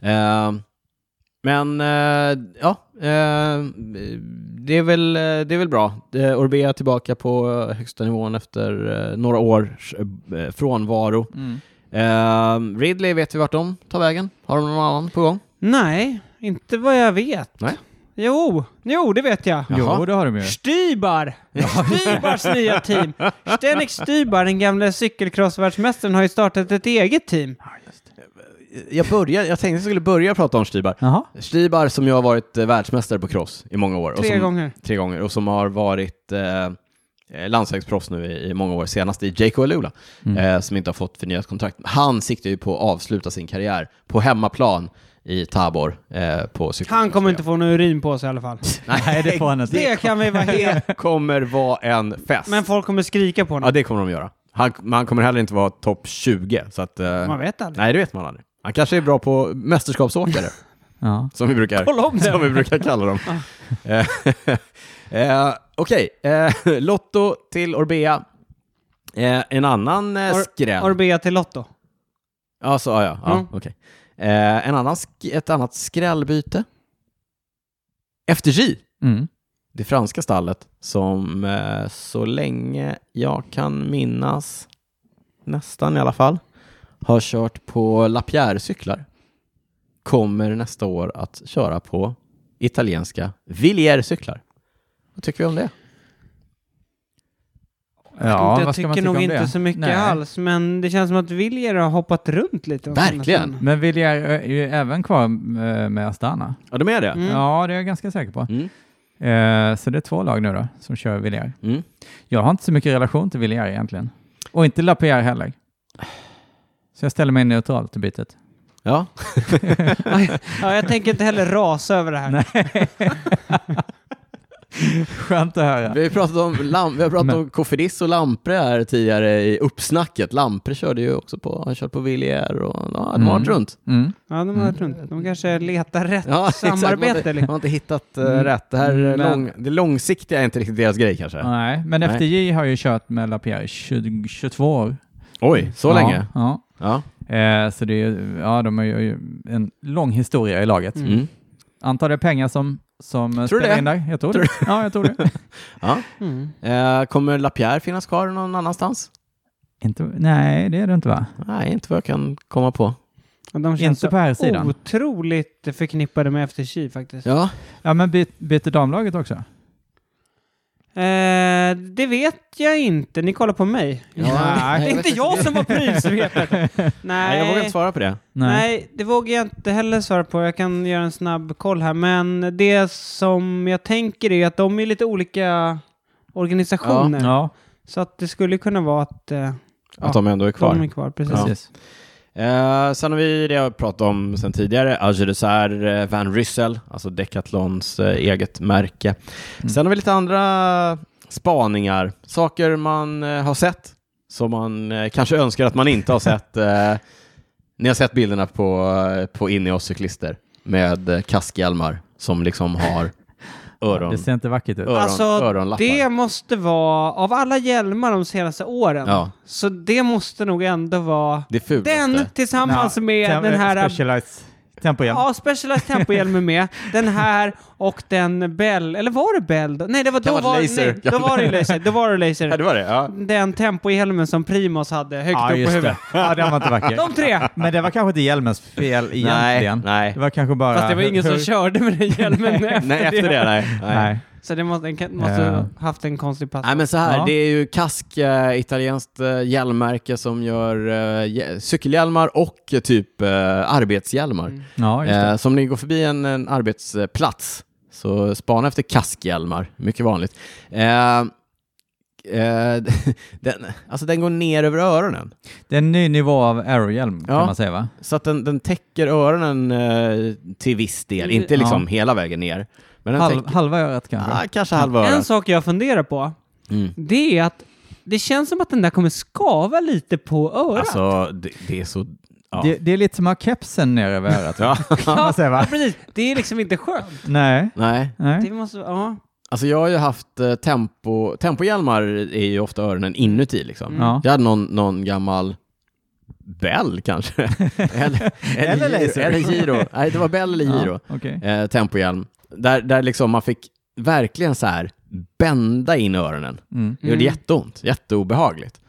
S1: Eh, men eh, ja, eh, det, är väl, eh, det är väl bra. Eh, Orbea är tillbaka på eh, högsta nivån efter eh, några års eh, frånvaro.
S3: Mm.
S1: Eh, Ridley vet vi vart de tar vägen. Har de någon annan på gång?
S2: Nej, inte vad jag vet.
S1: Nej.
S2: Jo, jo, det vet jag.
S1: Jaha.
S3: Jo, det har de ju.
S2: Stybar! Stybars nya team! Stenik Stybar, den gamla cykelcrossvärldsmästaren, har ju startat ett eget team.
S1: Jag, började, jag tänkte jag skulle börja prata om Stibar.
S3: Jaha.
S1: Stibar som jag har varit eh, världsmästare på cross i många år. och
S2: Tre
S1: som,
S2: gånger.
S1: tre gånger och som har varit eh, eh, landsvägsproffs nu i, i många år, senast i Jake Alula, eh, som inte har fått förnyat kontrakt. Han siktar ju på att avsluta sin karriär på hemmaplan i Tabor eh, på cykel.
S2: Han kommer inte få någon urin på sig i alla fall.
S3: Nej, det får han inte.
S2: Det kan vi vara helt...
S1: kommer vara en fest.
S2: Men folk kommer skrika på
S1: Ja,
S2: honom.
S1: det kommer de göra. Han, men han kommer heller inte vara topp 20, så att... Eh,
S2: Man vet aldrig.
S1: nej, det vet man aldrig. Han kanske är bra på mästerskapsåkare,
S3: Ja.
S1: som vi brukar...
S2: Kolla om
S1: som
S2: det!
S1: vi brukar kalla dem. Eh, eh, Okej, eh, Lotto till Orbea. Eh, en annan eh,
S2: Or-
S1: skräll...
S2: Orbea till Lotto.
S1: ja, så, ja, ja, ja,
S2: Mm.
S1: okej. eh, en annan sk- ett annat skrällbyte. FDJ,
S3: Mm.
S1: det franska stallet, som eh, så länge jag kan minnas, nästan i alla fall, har kört på Lapierre-cyklar, kommer nästa år att köra på italienska Villiers-cyklar. Vad tycker vi om det?
S3: Ja,
S2: jag
S3: vad ska man
S2: tycker
S3: tycka
S2: nog
S3: om
S2: inte
S3: det?
S2: så mycket
S3: Nej.
S2: alls, men det känns som att Viljer har hoppat runt lite. de senaste
S1: Verkligen.
S2: åren.
S3: Men Vilja är ju även kvar eh, med Astana.
S1: Ja, de är det.
S2: Mm.
S3: Ja, det är jag ganska säker på.
S1: Mm.
S3: Eh, så det är två lag nu då som kör Villier.
S1: Mm.
S3: Jag har inte så mycket relation till Villier egentligen. Och inte Lapierre heller. Så jag ställer mig neutral till bytet.
S1: Ja.
S2: Ja, jag tänker inte heller rasa över det här.
S3: Skönt att höra.
S1: Vi har pratat om, lam- vi har pratat
S3: Men-
S1: om Kofidis och Lampre här tidigare i uppsnacket. Lampre körde ju också på, han körde på Villiers och ja, de har varit
S3: Mm.
S1: runt.
S3: Mm.
S2: Ja, de har varit runt. De kanske letar rätt
S1: Ja, exakt. Man har
S2: samarbete.
S1: inte- Man
S2: Liksom.
S1: har inte hittat eh,
S3: Mm.
S1: rätt. Det här eh,
S3: Men-
S1: lång, det långsiktiga är inte riktigt deras grej kanske.
S3: Nej, men
S1: Nej.
S3: FDJ har ju kört med Lapierre i 20, 22 år.
S1: Oj, så
S3: ja,
S1: länge?
S3: Ja.
S1: Ja.
S3: Eh, så det är ju, ja, de har ju en lång historia i laget.
S2: Mm.
S1: Mm.
S3: Antar det är pengar som, som eh,
S1: Tror du
S3: spelar
S1: det?
S3: in där. Jag tror, det. Ja, jag tror det.
S1: ja.
S2: Mm.
S1: Eh, kommer Lapierre finnas kvar någon annanstans?
S3: inte, nej, det är det inte va?
S1: Nej, inte vad jag kan komma på.
S2: Och de känns
S3: Inte på här
S2: så
S3: sidan.
S2: otroligt förknippade med FTC faktiskt.
S1: Ja,
S3: Ja, men byt, byter damlaget också?
S2: Eh, det vet jag inte. Ni kollar på mig.
S1: Ja, nej,
S2: Nej, det
S1: jag
S2: är
S1: vet
S2: inte jag som var prylsvepet. Nej.
S1: Nej. jag vågar inte svara på det.
S2: Nej, det vågar jag inte heller svara på. Jag kan göra en snabb koll här. Men det som jag tänker är att de är lite olika organisationer.
S3: Ja,
S2: Så att det skulle kunna vara att eh, Ja,
S1: Att de ändå är kvar.
S2: de är kvar. Precis.
S3: precis.
S1: Eh, sen har vi det jag pratat om sen tidigare, Ageresar eh, Van Ryssel, alltså Decathlons eh, eget märke. Sen har vi lite andra spaningar, saker man eh, har sett som man eh, kanske önskar att man inte har sett. Eh, ni har sett bilderna på, eh, på Ineos-cyklister med eh, kaskhjälmar som liksom har öron,
S3: Det ser inte vackert ut.
S1: öron,
S2: Alltså,
S1: öronlappar.
S2: Det måste vara, av alla hjälmar de senaste åren,
S1: Ja.
S2: så det måste nog ändå vara
S1: Det är fulaste.
S2: den tillsammans alltså med
S3: Tem-
S2: den här
S3: Specialized tempohjälm.
S2: Ja, Specialized tempohjälm är med. Den här och den Bell, eller var det Bell? då? Nej, det var, då,
S1: vara
S2: var,
S1: Laser.
S2: nej, då var det Laser. Då var det
S1: Ja,
S2: Laser.
S1: det var det. Ja.
S2: Den tempohjälmen som Primus hade högt
S3: Ja,
S2: upp på
S3: just
S2: huvudet.
S3: det. Ja, den var inte vacker.
S2: De tre!
S3: Men det var kanske inte hjälmens fel egentligen.
S1: nej.
S3: Det var kanske bara...
S2: Fast det var ingen som
S3: hur-
S2: körde med den hjälmen efter,
S1: Nej, efter det, nej. nej. nej.
S3: Nej.
S2: Så det måste, den kan- måste
S3: Ja.
S2: haft en konstig pass.
S1: men så här,
S3: Ja.
S1: det är ju Kask, eh, italienskt eh, hjälmmärke som gör eh, hj- cykelhjälmar och eh, typ eh, arbetshjälmar.
S3: Mm,
S2: Mm.
S3: Ja, just det.
S1: Eh, så om ni går förbi en, en arbetsplats så spana efter kaskhjälmar, mycket vanligt. Eh, eh, den, alltså den går ner över öronen,
S3: Det är en ny nivå av aerohjälm
S1: Ja.
S3: kan man säga va?
S1: så att den, den täcker öronen eh, till viss del, inte
S2: Ja.
S1: liksom hela vägen ner. Men den
S3: Mm, Halv,
S1: täcker,
S3: halva örat kanske? Mm.
S1: ah, kanske halva
S2: En
S1: örat.
S2: sak jag funderar på,
S1: Mm.
S2: det är att det känns som att den där kommer skava lite på örat.
S1: Alltså, det, det är så... Ja.
S3: Det, det är lite som att ha kepsen ner över örat.
S1: Ja.
S3: kan man säga, va?
S2: Ja, precis. Det är liksom inte skönt.
S3: Nej.
S1: Nej,
S2: Det
S3: Nej.
S2: måste, ja.
S1: alltså jag har ju haft eh, tempo... Tempohjälmar är ju ofta öronen inuti liksom.
S2: Mm.
S3: Ja.
S1: Jag hade någon, någon gammal Bell kanske? eller,
S3: Eller
S1: Giro-
S3: Laser.
S1: Eller Giro. Nej, det var Bell eller Giro.
S3: Ja, okej.
S1: Eh, tempohjälm. Där, där liksom man fick verkligen så här bända in öronen.
S3: Mm.
S1: Det gjorde
S2: Mm.
S1: jätteont, jätteobehagligt.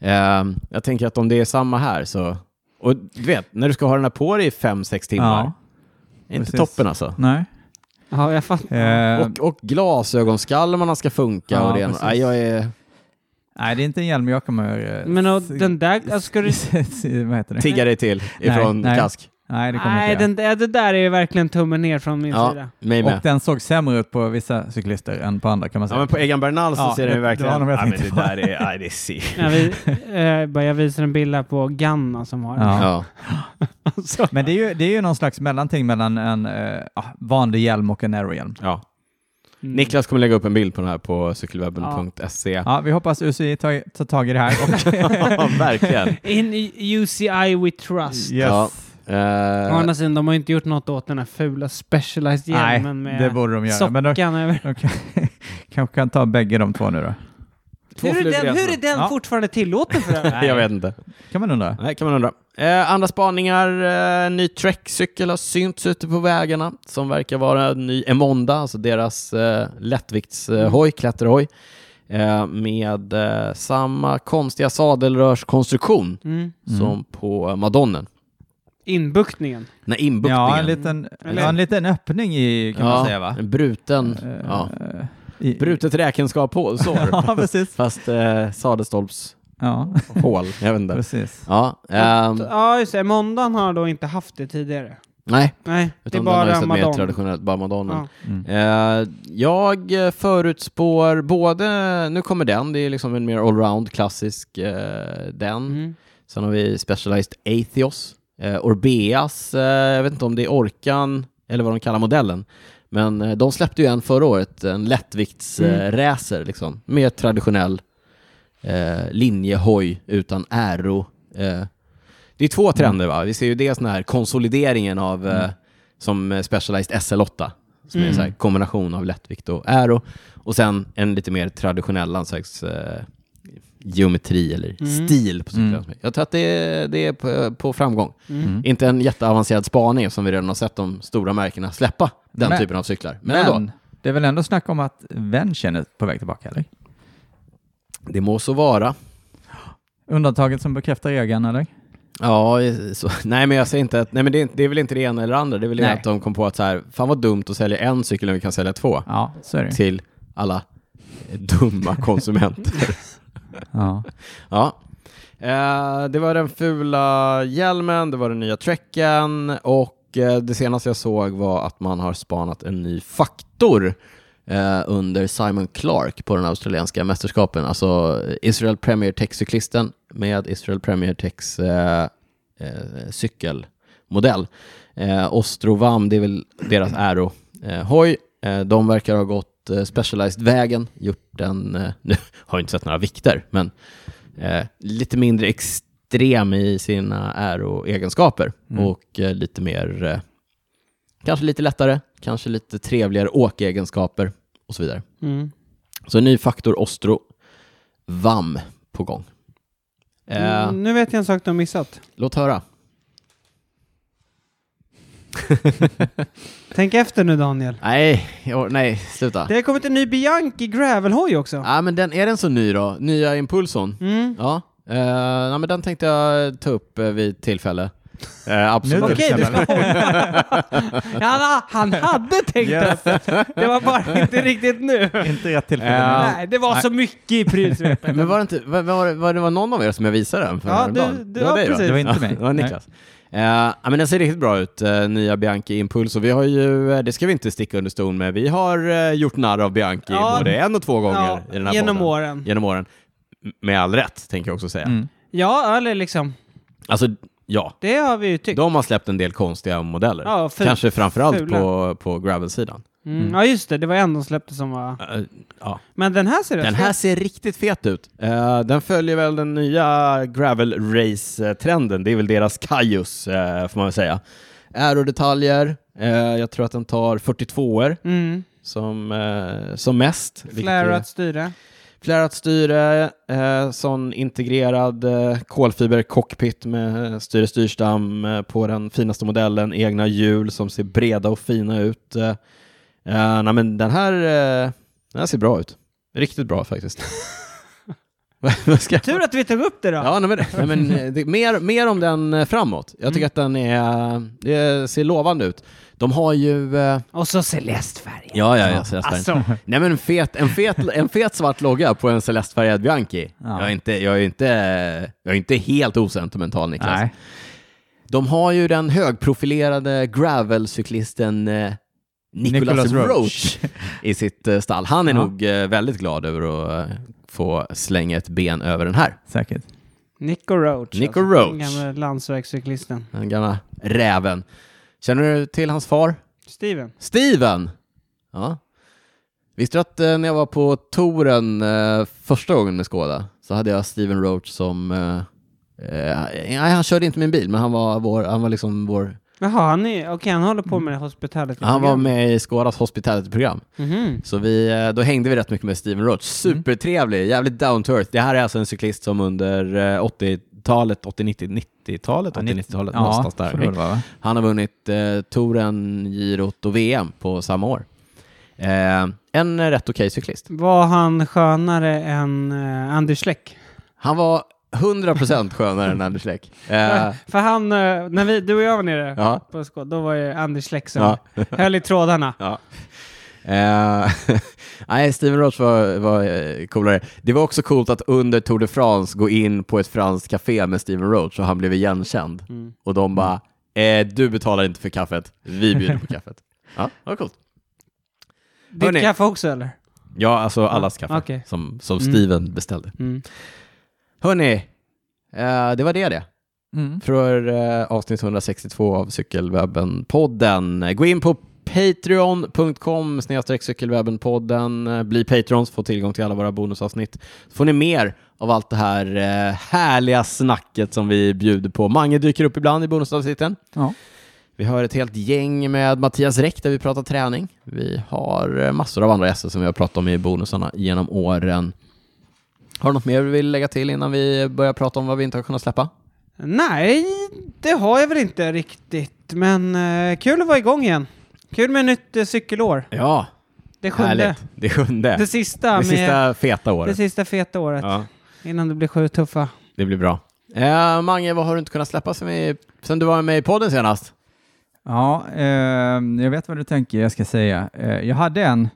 S1: Eh, jag tänker att om det är samma här så... Och du vet, när du ska ha den här på dig i 5-6 timmar,
S3: Ja.
S1: är inte
S3: precis.
S1: toppen alltså.
S3: Nej.
S2: ja, jag fattar.
S3: Eh,
S1: Och, och glasögonskalmarna ska funka
S3: Ja,
S1: och det ena-
S3: precis.
S1: Nej, jag är
S3: Nej, det är inte en hjälm jag kommer... eh,
S2: Men och,
S3: s-
S2: den där, alltså, ska du...
S3: s- Vad heter det?
S1: tigga dig till ifrån
S3: nej.
S1: kask.
S3: Nej, det kommer
S2: Nej,
S3: inte jag.
S2: den, där- det där är ju verkligen tummen ner från min
S1: Ja,
S2: sida.
S1: mig
S3: Och
S1: med.
S3: den såg sämre ut på vissa cyklister än på andra kan man
S1: Ja,
S3: säga.
S1: men på Egan Bernal så
S3: Ja,
S1: ser den ju
S3: det- det
S1: verkligen...
S3: var nog jag
S1: ja, men
S3: tänkte
S1: det
S3: på.
S1: där är... Nej, det ser...
S2: När vi, eh, bara jag visar en bild här på Ganna som har den.
S3: Ja.
S1: Ja.
S2: Alltså,
S3: Men det är ju, det är ju någon slags mellanting mellan en eh, ah, vanlig hjälm och en aerohjälm.
S1: ja.
S2: mm.
S1: Niklas kommer lägga upp en bild på den här på cykelwebben.se. Ja.
S3: Ja, vi hoppas UCI tar, tar tag i det här. Och,
S1: verkligen.
S2: In UCI we trust.
S1: Ja.
S2: Å
S1: Eh,
S2: andra sidan, de har ju inte gjort något åt den här fula Specialized-hjälmen
S3: Mm. Nej, det
S2: med
S3: borde de göra. Men
S2: sockan
S3: då,
S2: över.
S3: de kan- kanske kan ta bägge de två nu då.
S1: två
S2: Hur är
S1: flugor i
S2: den,
S1: en
S2: hur är
S1: smäll.
S2: den
S3: Ja.
S2: fortfarande tillåten för övrigt?
S1: Eh, Jag vet inte.
S3: Kan man undra.
S1: Nej, kan man undra. Eh, andra spaningar. Eh, ny Trek-cykel har synts ute på vägarna som verkar vara en ny Emonda, alltså deras eh,
S3: Mm.
S1: lättviktshoj, klätterhoj, eh, med eh, samma konstiga sadelrörskonstruktion
S2: Mm.
S1: som på Madonnen.
S2: Inbuktningen.
S1: Nej, inbuktningen.
S3: Ja, en liten,
S2: Eller-
S3: ja, en liten öppning i, kan man
S1: Ja,
S3: säga va?
S1: En bruten,
S3: Eh,
S1: ja.
S3: i-
S1: brutet räkenskap på, sår.
S3: ja, precis.
S1: Fast eh, sadelstolpshål,
S3: Ja,
S1: jag vet inte.
S3: precis.
S1: Ja,
S3: Mm.
S1: ehm,
S2: Ja, just det. Måndagen har då inte haft det tidigare.
S1: nej,
S2: Nej, det är
S1: utan den har ju
S2: bara
S1: sett mer
S2: Madonna.
S1: traditionellt, bara Madonna.
S2: Ja.
S3: Mm.
S1: Eh, jag eh, förutspår både, nu kommer den, det är liksom en mer allround klassisk eh, den.
S2: Mm.
S1: Sen har vi Specialized Atheos, eh, Orbeas, eh, jag vet inte om det är Orkan eller vad de kallar modellen. Men eh, de släppte ju en förra året, en lättviktsracer eh,
S2: Mm.
S1: racer liksom, med traditionell eh, linjehoj utan aero. Eh. Det är
S2: Mm.
S1: två trender va? Vi ser ju dels den här konsolideringen av eh, som eh, Specialized SL8, som är en
S2: Mm.
S1: så här kombination av lättvikt och aero. Och sen en lite mer traditionell någon slags, eh, geometri eller
S2: Mm.
S1: stil på cyklarna.
S3: Mm.
S1: Jag tror att det är, det är på, på framgång.
S2: Mm.
S3: Mm.
S1: Inte en jätteavancerad spaning som vi redan har sett de stora märkena släppa den
S3: Men-
S1: typen av cyklar. Men, ändå,
S3: Men det är väl ändå snack om att Venchen är på väg tillbaka, eller?
S1: det må så vara.
S3: Undantaget som bekräftar regeln, eller?
S1: Ja, så, nej men jag säger inte att, nej men det är, inte- det är väl inte det ena eller det andra. Det är väl det
S3: Nej.
S1: att de kom på att så här, fan vad dumt att sälja en cykel när vi kan sälja två
S3: Ja, så är det ju.
S1: till alla dumma konsumenter.
S3: ja.
S1: Ja. Eh, det var den fula hjälmen, det var den nya trekken och eh, det senaste jag såg var att man har spanat en ny faktor eh, under Simon Clark på den australienska mästerskapen. Alltså Israel Premier Tech-cyklisten med Israel Premier Techs eh, eh, cykelmodell. Eh, Ostrovam, det är väl deras aero. Eh, hoj, eh, de verkar ha gått eh, Specialized-vägen, gjort en, eh, nu har jag inte sett några vikter, men eh, lite mindre extrem i sina aero-egenskaper
S3: Mm.
S1: och eh, lite mer, eh, kanske lite lättare, kanske lite trevligare åkegenskaper och så vidare.
S2: Mm.
S1: Så en ny faktor Ostro VAM på gång. Eh,
S2: Mm, Nu vet jag en sak du har missat.
S1: Låt höra.
S2: Tänk efter nu Daniel.
S1: Nej, jag, nej, sluta.
S2: Det har kommit en ny Bianchi gravelhoj också.
S1: Ja, men den, är den så ny då? Nya Impulson?
S2: Mm.
S1: Ja. Eh, nej, men den tänkte jag ta upp eh, vid tillfälle. Eh, absolut.
S3: Nu
S2: Okej, du ska hålla. han, han hade tänkt
S3: Yes.
S2: det. Det var bara inte riktigt nu.
S3: Inte rätt tillfälle.
S1: Ja.
S2: Nej, det var så mycket i prylsvepet.
S1: Men var det inte, var, var, det- var det var någon av er som jag visade den för
S2: Ja, du-
S1: dagen?
S2: du-
S1: det
S2: ja,
S1: dig, va?
S2: precis.
S3: Det var inte mig.
S1: Det var Niklas. Eh, ja, men den ser riktigt bra ut, eh, nya Bianchi Impuls. Och vi har ju, eh, det ska vi inte sticka under stol med, vi har eh, gjort narr av Bianchi
S2: Ja.
S1: både en och två gånger
S2: Ja,
S1: i den här
S2: genom
S1: podden.
S2: åren.
S1: Genom åren. M- Med all rätt, tänker jag också säga.
S3: Mm.
S2: Ja, eller liksom.
S1: Alltså, ja.
S2: Det har vi ju tyckt.
S1: De har släppt en del konstiga modeller.
S2: Ja, ful-
S1: Kanske framförallt
S2: fula.
S1: på, på gravel-sidan.
S2: Mm. Ja, just det. Det var en de släppte som var...
S1: Eh, ja.
S2: Men den här ser
S1: Den
S2: rätt
S1: här
S2: fet-
S1: ser riktigt fet ut. Eh, den följer väl den nya gravel race-trenden. Det är väl deras Kajus, eh, får man väl säga. Aerodetaljer. Eh, jag tror att den tar 42-er
S2: Mm.
S1: som, eh, som mest. vilket är-
S2: Flärat styre.
S1: Flärat styre, eh, sån integrerad eh, kolfiber-cockpit med eh, styre styrstam eh, på den finaste modellen, egna hjul som ser breda och fina ut. Eh, eh, nej, men den här, eh, den här ser bra ut. Riktigt bra faktiskt. Vad- vad ska jag-
S2: Tur att vi tog upp det då.
S1: Ja, nej, men, nej, men, eh, det, mer, mer om den eh, framåt. Jag tycker att den är, eh, det ser lovande ut. De har ju... Eh,
S2: Och så celestfärgen.
S1: ja, ja, jag ser nästan.
S2: Alltså,
S1: Nej men en fet, en fet, en fet svart logga på en celestfärgad Bianchi.
S3: Ja.
S1: Jag, är inte, jag, är inte, jag är inte helt osentimental Niklas.
S3: Nej.
S1: De har ju den högprofilerade gravelcyklisten eh, Nicholas,
S3: Nicholas
S1: Roach.
S3: Roach.
S1: i sitt eh, stall. Han är
S3: Ja.
S1: nog eh, väldigt glad över att eh, få slänga ett ben över den här.
S3: Säkert.
S2: Nico Roach.
S1: Nico
S2: alltså,
S1: Roach.
S2: Den gamla landsvägscyklisten.
S1: Den gamla räven. Känner du till hans far?
S2: Steven.
S1: Steven! Ja. Visste du att eh, när jag var på touren eh, första gången med Skoda så hade jag Steven Roach som... Eh, eh, nej, han körde inte min bil, men han var, vår, han var liksom vår...
S2: Jaha, han, är, okej, han håller på med hospitality
S1: Mm. Han var med i Skodas hospitality-program.
S2: Mhm.
S1: Så vi, eh, då hängde vi rätt mycket med Steven Roach.
S3: Mm.
S1: Supertrevlig, jävligt down to earth. Det här är alltså en cyklist som under eh, 80-talet, 80-90, 90-talet,
S3: Ja,
S1: 80-90-talet,
S3: Ja,
S1: någonstans
S3: får
S1: där.
S3: det vara, va?
S1: Han har vunnit eh, touren, girot och VM på samma år. Eh, en eh, rätt okej cyklist.
S2: Var han skönare än eh, Anders Schleck?
S1: Han var 100% skönare än Anders Läck. Eh,
S2: För han, eh, när vi, du och jag var nere
S1: ja,
S2: på skåd, då var ju Anders Schleck som
S1: ja,
S2: höll i trådarna.
S1: ja. Eh, nej, Steven Roach var, var eh, coolare. Det var också coolt att under Tour de France gå in på ett franskt café med Steven Roach och han blev igenkänd.
S2: Mm.
S1: Och de bara, eh, du betalar inte för kaffet, vi bjuder på kaffet. Ja, det var coolt.
S2: Ditt
S1: Hörni.
S2: kaffe också eller?
S1: Ja, alltså allas kaffe
S2: Ah, Okej.
S1: som, som
S2: Mm.
S1: Steven beställde.
S2: Mm.
S1: Hörni, eh, det var det det.
S3: Mm.
S1: För eh, avsnitt 162 av Cykelwebben-podden. Gå in på patreon.com snedstreck cykelwebben-podden. Eh, Bli patrons, få tillgång till alla våra bonusavsnitt. Så får ni mer av allt det här eh, härliga snacket som vi bjuder på. Mange dyker upp ibland i bonusavsnitten.
S3: Ja.
S1: Vi har ett helt gäng med Mattias Räck där vi pratar träning. Vi har eh, massor av andra gäster som vi har pratat om i bonusarna genom åren. Har du något mer du vill lägga till innan vi börjar prata om vad vi inte har kunnat släppa?
S2: Nej, det har jag väl inte riktigt, men eh, kul att vara igång igen. Kul med nytt eh, cykelår.
S1: Ja,
S2: Det sjunde.
S1: Härligt. Det sjunde.
S2: Det
S1: Det,
S2: sista, med,
S1: sista feta året.
S2: det sista feta året
S1: ja,
S2: innan det blir sju tuffa.
S1: det blir bra. Eh, Mange, vad har du inte kunnat släppa sen, vi, sen du var med i podden senast?
S3: Ja, ehm, jag vet vad du tänker jag ska säga. Eh, jag hade en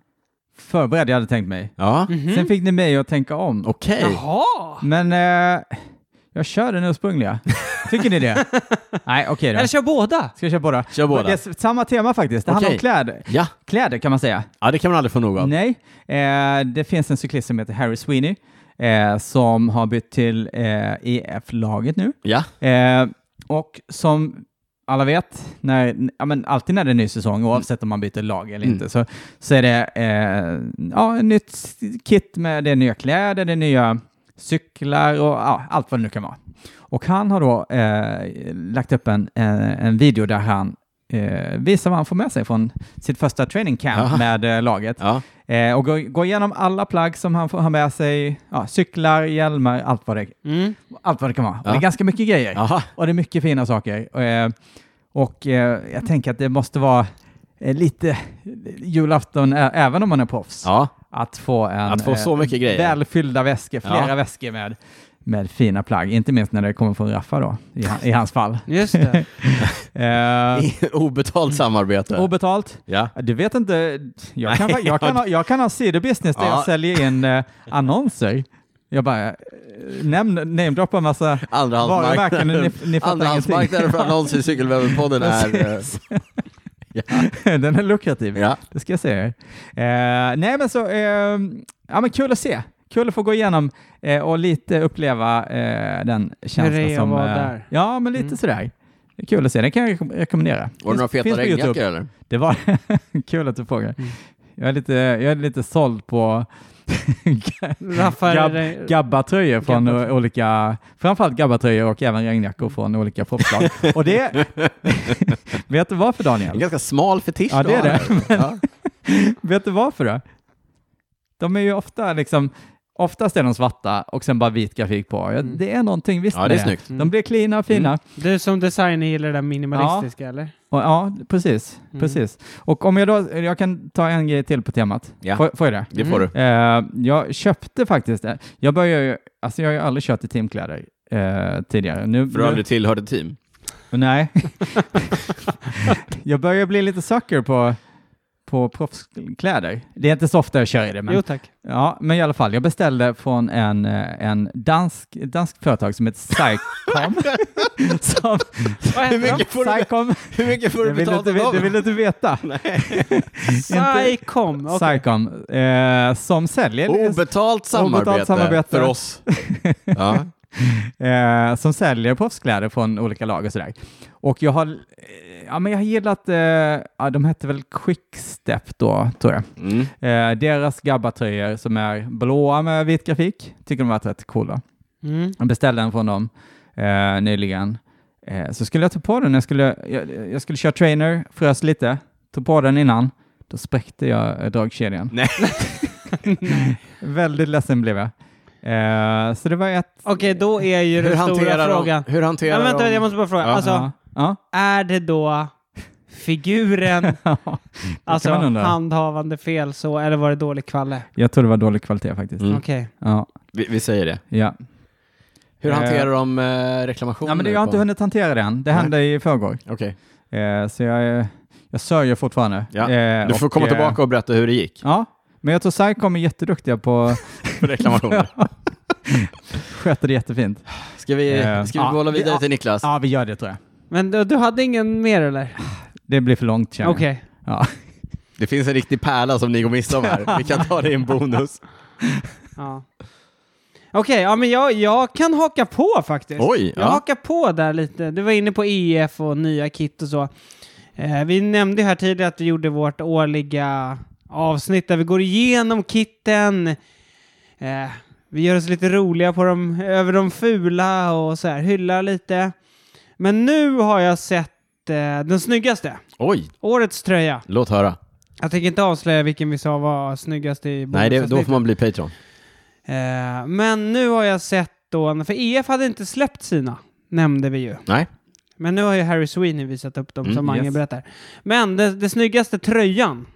S3: förberedd jag hade tänkt mig.
S1: Ja,
S2: Mhm.
S3: Sen fick ni mig att tänka om.
S1: okej.
S2: Jaha!
S3: Men eh, jag kör den ursprungliga. Tycker ni det? Nej, okej då.
S2: Eller kör båda!
S3: Ska jag köra båda?
S1: Kör båda.
S3: Det är s- samma tema faktiskt. Det handlar
S1: Okej.
S3: om kläder.
S1: Ja.
S3: Kläder kan man säga.
S1: ja, det kan man aldrig få nog av.
S3: Nej, eh, det finns en cyklist som heter Harry Sweeney eh, som har bytt till eh, EF-laget nu.
S1: Ja,
S3: Eh, och som alla vet, när, ja, men alltid när det är ny säsong, oavsett om man byter lag eller
S1: Mm.
S3: inte, så, så är det eh, ja, ett nytt kit med det är nya kläder, det är nya cyklar och ja, allt vad det nu kan vara. Och han har då eh, lagt upp en, en, en video där han eh, visar vad han får med sig från sitt första training camp
S1: Aha.
S3: med eh, laget.
S1: ja.
S3: Eh, och går, går igenom alla plagg som han får ha med sig, ja, cyklar, hjälmar, allt vad det,
S2: Mm.
S3: allt vad det kan vara. Och
S1: Ja.
S3: det är ganska mycket grejer.
S1: Jaha.
S3: Och det är mycket fina saker. Eh, Och eh, jag tänker att det måste vara eh, lite julafton ä- även om man är proffs.
S1: Ja,
S3: Att få en
S1: att få
S3: eh,
S1: så mycket grejer.
S3: välfyllda väskor, flera
S1: Ja.
S3: väskor med, med fina plagg. Inte minst när det kommer från Raffa då, i, han- i hans fall.
S2: Just det.
S3: Eh,
S1: Obetalt samarbete.
S3: obetalt.
S1: ja.
S3: Du vet inte, jag kan,
S1: Nej,
S3: va- jag kan, ha, jag kan ha sidobusiness där
S1: Ja.
S3: jag säljer in eh, annonser. Jag bara eh, nämn- namedroppar massa varumärken,
S1: Andrahandsmarknaden.
S3: ni, ni fattar ingenting.
S1: Andrahandsmarknaden för annonser i Cykelwebben-podden är... eh,
S3: Precis.
S1: Ja.
S3: Den är lukrativ,
S1: Ja.
S3: det ska jag säga er. Eh, nej men så, eh, ja men kul att se. Kul att få gå igenom eh, och lite uppleva eh, den känslan
S2: det är att
S3: som...
S2: vara
S3: eh,
S2: där.
S3: Ja, men lite
S2: Mm.
S3: sådär. Det är kul att se, den kan jag rekom- rekommendera.
S1: Var det några feta
S3: finns på YouTube.
S1: regnjackor eller?
S3: Det var kul att du frågar.
S2: Mm.
S3: Jag, är lite, jag är lite såld på
S2: Raffar,
S3: Gabb-
S2: eh,
S3: gabbatröjor från
S2: Gabba-
S3: o- olika, framförallt gabbatröjor och även regnjackor från olika popslag. och det, vet du varför
S1: En
S3: Daniel?
S1: ganska smal fetisch
S3: Ja,
S1: du
S3: det är
S1: har
S3: det.
S1: här. Ja.
S3: Vet du varför då? De är ju ofta liksom, oftast är de svarta och sen bara vit grafik på. Ja,
S2: Mm.
S3: Det är någonting, visst
S1: ja,
S3: med
S1: det är snyggt.
S3: De blir cleana och fina.
S2: du som designer gillar det där minimalistiska, eller?
S3: Och, ja, precis,
S2: Mm.
S3: precis. Och om jag då, jag kan ta en grej till på temat.
S1: Ja.
S3: Får, får jag det?
S1: Det får du.
S3: Eh, jag köpte faktiskt det. Jag börjar ju, alltså jag har ju aldrig kört i teamkläder eh, tidigare. Nu,
S1: För du har aldrig tillhört ett team.
S3: nu, nej. jag börjar bli lite sucker på, på proffskläder. Det är inte så ofta jag kör i det, men,
S2: Jo tack.
S3: ja, men i alla fall, jag beställde från en, eh, en dansk, ett danskt företag som heter Psycom. som,
S2: Vad
S1: Hur
S2: heter de?
S1: mycket får du,
S3: Psycom,
S1: hur mycket får
S3: det
S1: du
S3: vill, du
S1: betalt
S3: inte-
S1: av
S3: det
S1: dem?
S3: vill du inte veta.
S2: Psycom. okej.
S3: Psycom, eh, som säljer
S1: Oh, Obetalt samarbete,
S3: Obetalt samarbete.
S1: för oss. Ja.
S3: eh, som säljer proffskläder från olika lag och sådär. Och jag har, eh, ja men jag har gillat, eh, ja, de hette väl Quickstep då, tror jag.
S1: Mm.
S3: Eh, deras gabbatröjor som är blåa med vit grafik, tycker de har varit rätt coola.
S2: Mm.
S3: Jag beställde en från dem eh, nyligen. Eh, så skulle jag ta på den, jag skulle, jag, jag skulle köra trainer, frös lite, tog på den innan, då spräckte jag eh, dragkedjan.
S1: Nej.
S3: Väldigt ledsen blev jag. Eh, så det var ett...
S2: Okej, då är ju
S1: Hur
S2: den stora
S1: hanterar
S2: frågan.
S1: de... Hur
S2: Ja,
S1: hanterar
S2: vänta,
S1: de...
S2: jag måste bara fråga.
S1: Ja.
S2: Alltså,
S3: Ja, ja.
S2: är det då figuren, alltså
S3: man undra.
S2: handhavande fel så, eller var det dålig kvalle?
S3: Jag tror det var dålig kvalitet faktiskt.
S1: Mm.
S2: Okej.
S3: Ja,
S1: Vi, vi säger det.
S3: ja.
S1: Hur
S3: Eh.
S1: hanterar de eh, reklamationer?
S3: ja men det, jag har inte
S1: på-
S3: hunnit hantera det än. Det
S1: Nej.
S3: hände i förrgår.
S1: Okej.
S3: Eh, så jag, eh, jag sörjer fortfarande.
S1: Ja,
S3: Eh,
S1: Du får
S3: och,
S1: komma
S3: eh,
S1: tillbaka och berätta hur det gick
S3: Ja, men jag tror Psycom är jätteduktiga på
S1: för reklamationer.
S3: sköter det jättefint.
S1: Ska vi,
S3: Eh.
S1: ska vi
S3: Ja,
S1: bolla
S3: vi-
S1: vidare
S3: ja.
S1: till Niklas?
S3: Ja, vi gör det tror jag.
S2: Men du, du hade ingen mer eller?
S3: Det blir för långt känner jag.
S2: Okej.
S3: Ja.
S1: Det finns en riktig pärla som ni går miste om här. Vi kan ta det i en bonus.
S2: Ja. Okej, ja men jag, jag kan haka på faktiskt.
S1: Oj,
S2: jag
S1: ja.
S2: hakar på där lite. Du var inne på EF och nya kit och så. Eh, vi nämnde ju här tidigare att vi gjorde vårt årliga avsnitt där vi går igenom kitten. Eh, vi gör oss lite roliga på dem, över de fula och så här, hyllar lite. Men nu har jag sett eh, den snyggaste,
S1: Oj,
S2: årets tröja.
S1: låt höra.
S2: Jag tänker inte avslöja vilken vi sa var snyggast i
S1: Nej, det, då
S2: bonusavsnittet.
S1: får man bli Patreon.
S2: Eh, men nu har jag sett då, en- för EF hade inte släppt sina, nämnde vi ju.
S1: Nej.
S2: Men nu har ju Harry Sweeney visat upp dem
S1: Mm,
S2: som Mange
S3: yes.
S2: berättar. Men det, det snyggaste tröjan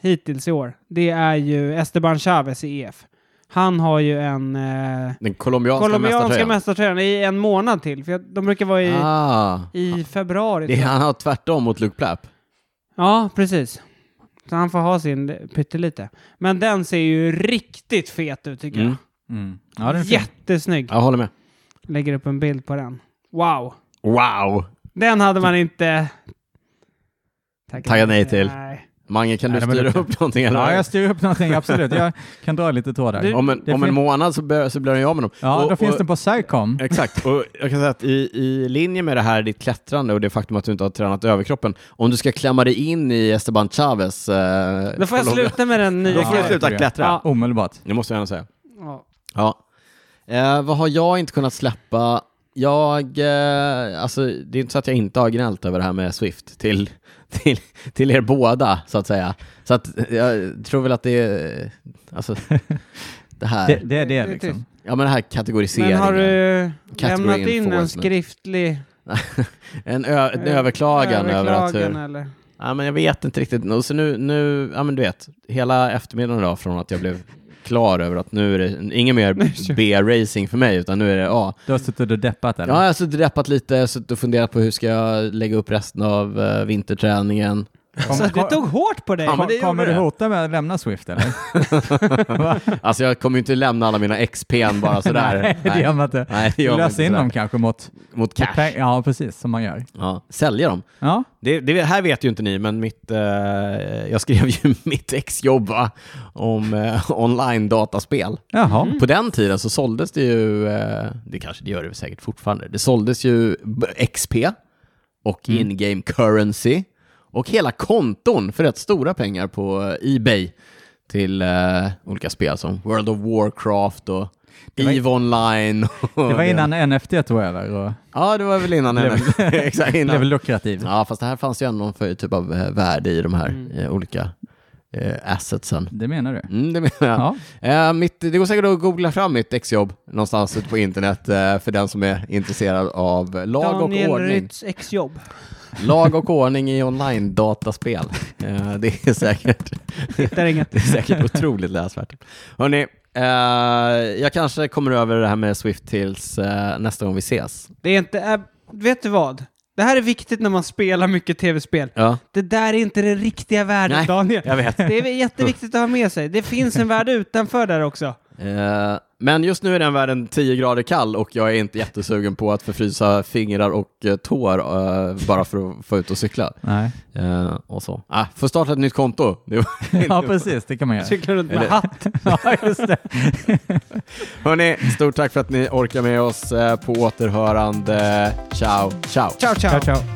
S2: hittills i år, det är ju Esteban Chavez i EF. Han har ju en eh,
S1: Den colombianska,
S2: colombianska
S1: mästartröjan.
S2: mästartröjan i en månad till, för jag, de brukar vara i,
S1: Ah.
S2: i februari.
S1: Det
S2: tror
S1: är,
S2: jag.
S1: han har tvärtom mot Luke Plapp.
S2: Ja, precis. Så han får ha sin pyttelite. Men den ser ju riktigt fet ut tycker
S1: Mm.
S3: Mm. Ja, den är
S2: jag.
S3: fin.
S2: Jättesnygg.
S1: Jag håller med.
S2: Lägger upp en bild på den. Wow!
S1: Wow!
S2: Den hade man inte tackat
S1: Tackat nej till.
S2: Nej.
S1: Mange, kan
S3: Nej,
S1: du
S3: men
S1: styra
S3: det-
S1: upp någonting? Eller?
S3: Ja, jag styr upp någonting, absolut. Jag kan dra lite trådar.
S2: Du-
S1: Om en,
S3: Det
S1: om en
S3: fin-
S1: månad så, bör, så blir han ju av med dem.
S3: Ja,
S1: Och-
S3: då finns
S1: och-
S3: det på Psycom.
S1: Exakt, och jag kan säga att i, i linje med det här, ditt klättrande och det faktum att du inte har tränat överkroppen, om du ska klämma dig in i Esteban Chavez... Eh,
S2: Då får jag
S1: Colombia-
S2: sluta med den nya
S1: Då får du
S3: Ja,
S2: grejen.
S1: sluta
S3: det.
S1: klättra.
S2: Ja.
S3: Omedelbart.
S1: Det måste jag ändå säga.
S2: Ja.
S1: Ja. Eh, vad har jag inte kunnat släppa? Jag, eh, alltså det är inte så att jag inte har gnällt över det här med Swift till, till, till er båda så att säga. Så att eh, jag tror väl att det är, eh, alltså det här,
S3: Det, det är
S2: Det
S3: det
S2: är
S3: liksom.
S1: ja men det här
S2: Men
S1: kategoriseringen.
S2: har du lämnat
S1: Category
S2: in en
S1: enforcement.
S2: skriftlig eh,
S1: en, ö- en överklagan över att hur...
S2: Överklagan eller?
S1: Ja, men jag vet inte riktigt. Och Så nu, nu, ja men du vet, hela eftermiddagen idag från att jag blev klar över att nu är det inget mer B-racing för mig, utan nu är det A.
S3: Du har suttit och deppat
S1: Ja,
S3: eller?
S1: jag har suttit och reppat lite, suttit och funderat på hur ska jag lägga upp resten av eh, vinterträningen.
S2: Så
S3: Kom-
S2: att Alltså, det
S3: kom-
S2: tog hårt på dig?
S1: Ja, men det
S3: Kommer
S1: gjorde
S3: du
S1: det.
S3: hota med att lämna Swift eller?
S1: Alltså jag kommer ju inte lämna alla mina XP'n bara sådär.
S3: Nej, det gör man inte.
S1: Nej, det gör man
S3: Lösa
S1: inte
S3: in
S1: sådär.
S3: dem kanske mot...
S1: Mot cash.
S3: peng- Ja, precis, som man gör.
S1: Ja, sälja dem.
S3: Ja,
S1: Det, det här vet ju inte ni, men mitt, eh, jag skrev ju mitt exjobb va, om eh, online-dataspel.
S3: jaha.
S2: Mm.
S1: På den tiden så såldes det ju, eh, det kanske det gör det säkert fortfarande, det såldes ju b- XP och
S3: Mm.
S1: in-game currency och hela konton för rätt stora pengar på eh, Ebay till eh, olika spel som World of Warcraft och
S3: var-
S1: EVE Online. och-
S3: Det var innan NFT tog över och
S1: Ja, det var väl innan. Exakt,
S3: blev
S1: innan.
S3: lukrativ.
S1: Ja, fast det här fanns ju ändå någon för- typ av eh, värde i de här
S3: Mm.
S1: eh, olika eh, assetsen.
S3: Det menar du?
S1: Mm, det menar jag.
S3: Ja.
S1: Eh, mitt, det går säkert att googla fram mitt exjobb någonstans ute på internet eh, för den som är intresserad av eh, lag
S2: Daniel
S1: och ordning.
S2: Rytts exjobb.
S1: Lag och ordning i online-dataspel. Eh, det, är säkert,
S2: Hittar inget.
S1: det är säkert otroligt läsvärt. Hörrni, eh, jag kanske kommer över det här med Swift tills eh, nästa gång vi ses.
S2: Det är inte... Äh, vet du vad? Det här är viktigt när man spelar mycket tv-spel.
S1: Ja,
S2: Det där är inte den riktiga världen,
S1: Nej,
S2: Daniel.
S1: jag vet.
S2: Det är väl jätteviktigt att ha med sig. Det finns en värld utanför där också.
S1: Eh, men just nu är den världen 10 grader kall och jag är inte jättesugen på att förfrysa fingrar och eh, tår eh, bara för att få ut och cykla.
S3: Nej.
S1: Eh, och så. Ah, får starta ett nytt konto. Det var-
S3: Ja, precis, det kan man göra.
S2: Cyklar runt med
S1: Eller-
S2: hatt.
S3: Ja, just det.
S1: Hörni, stort tack för att ni orkar med oss eh, på återhörande. Ciao, ciao.
S2: Ciao, ciao.
S3: Ciao, ciao.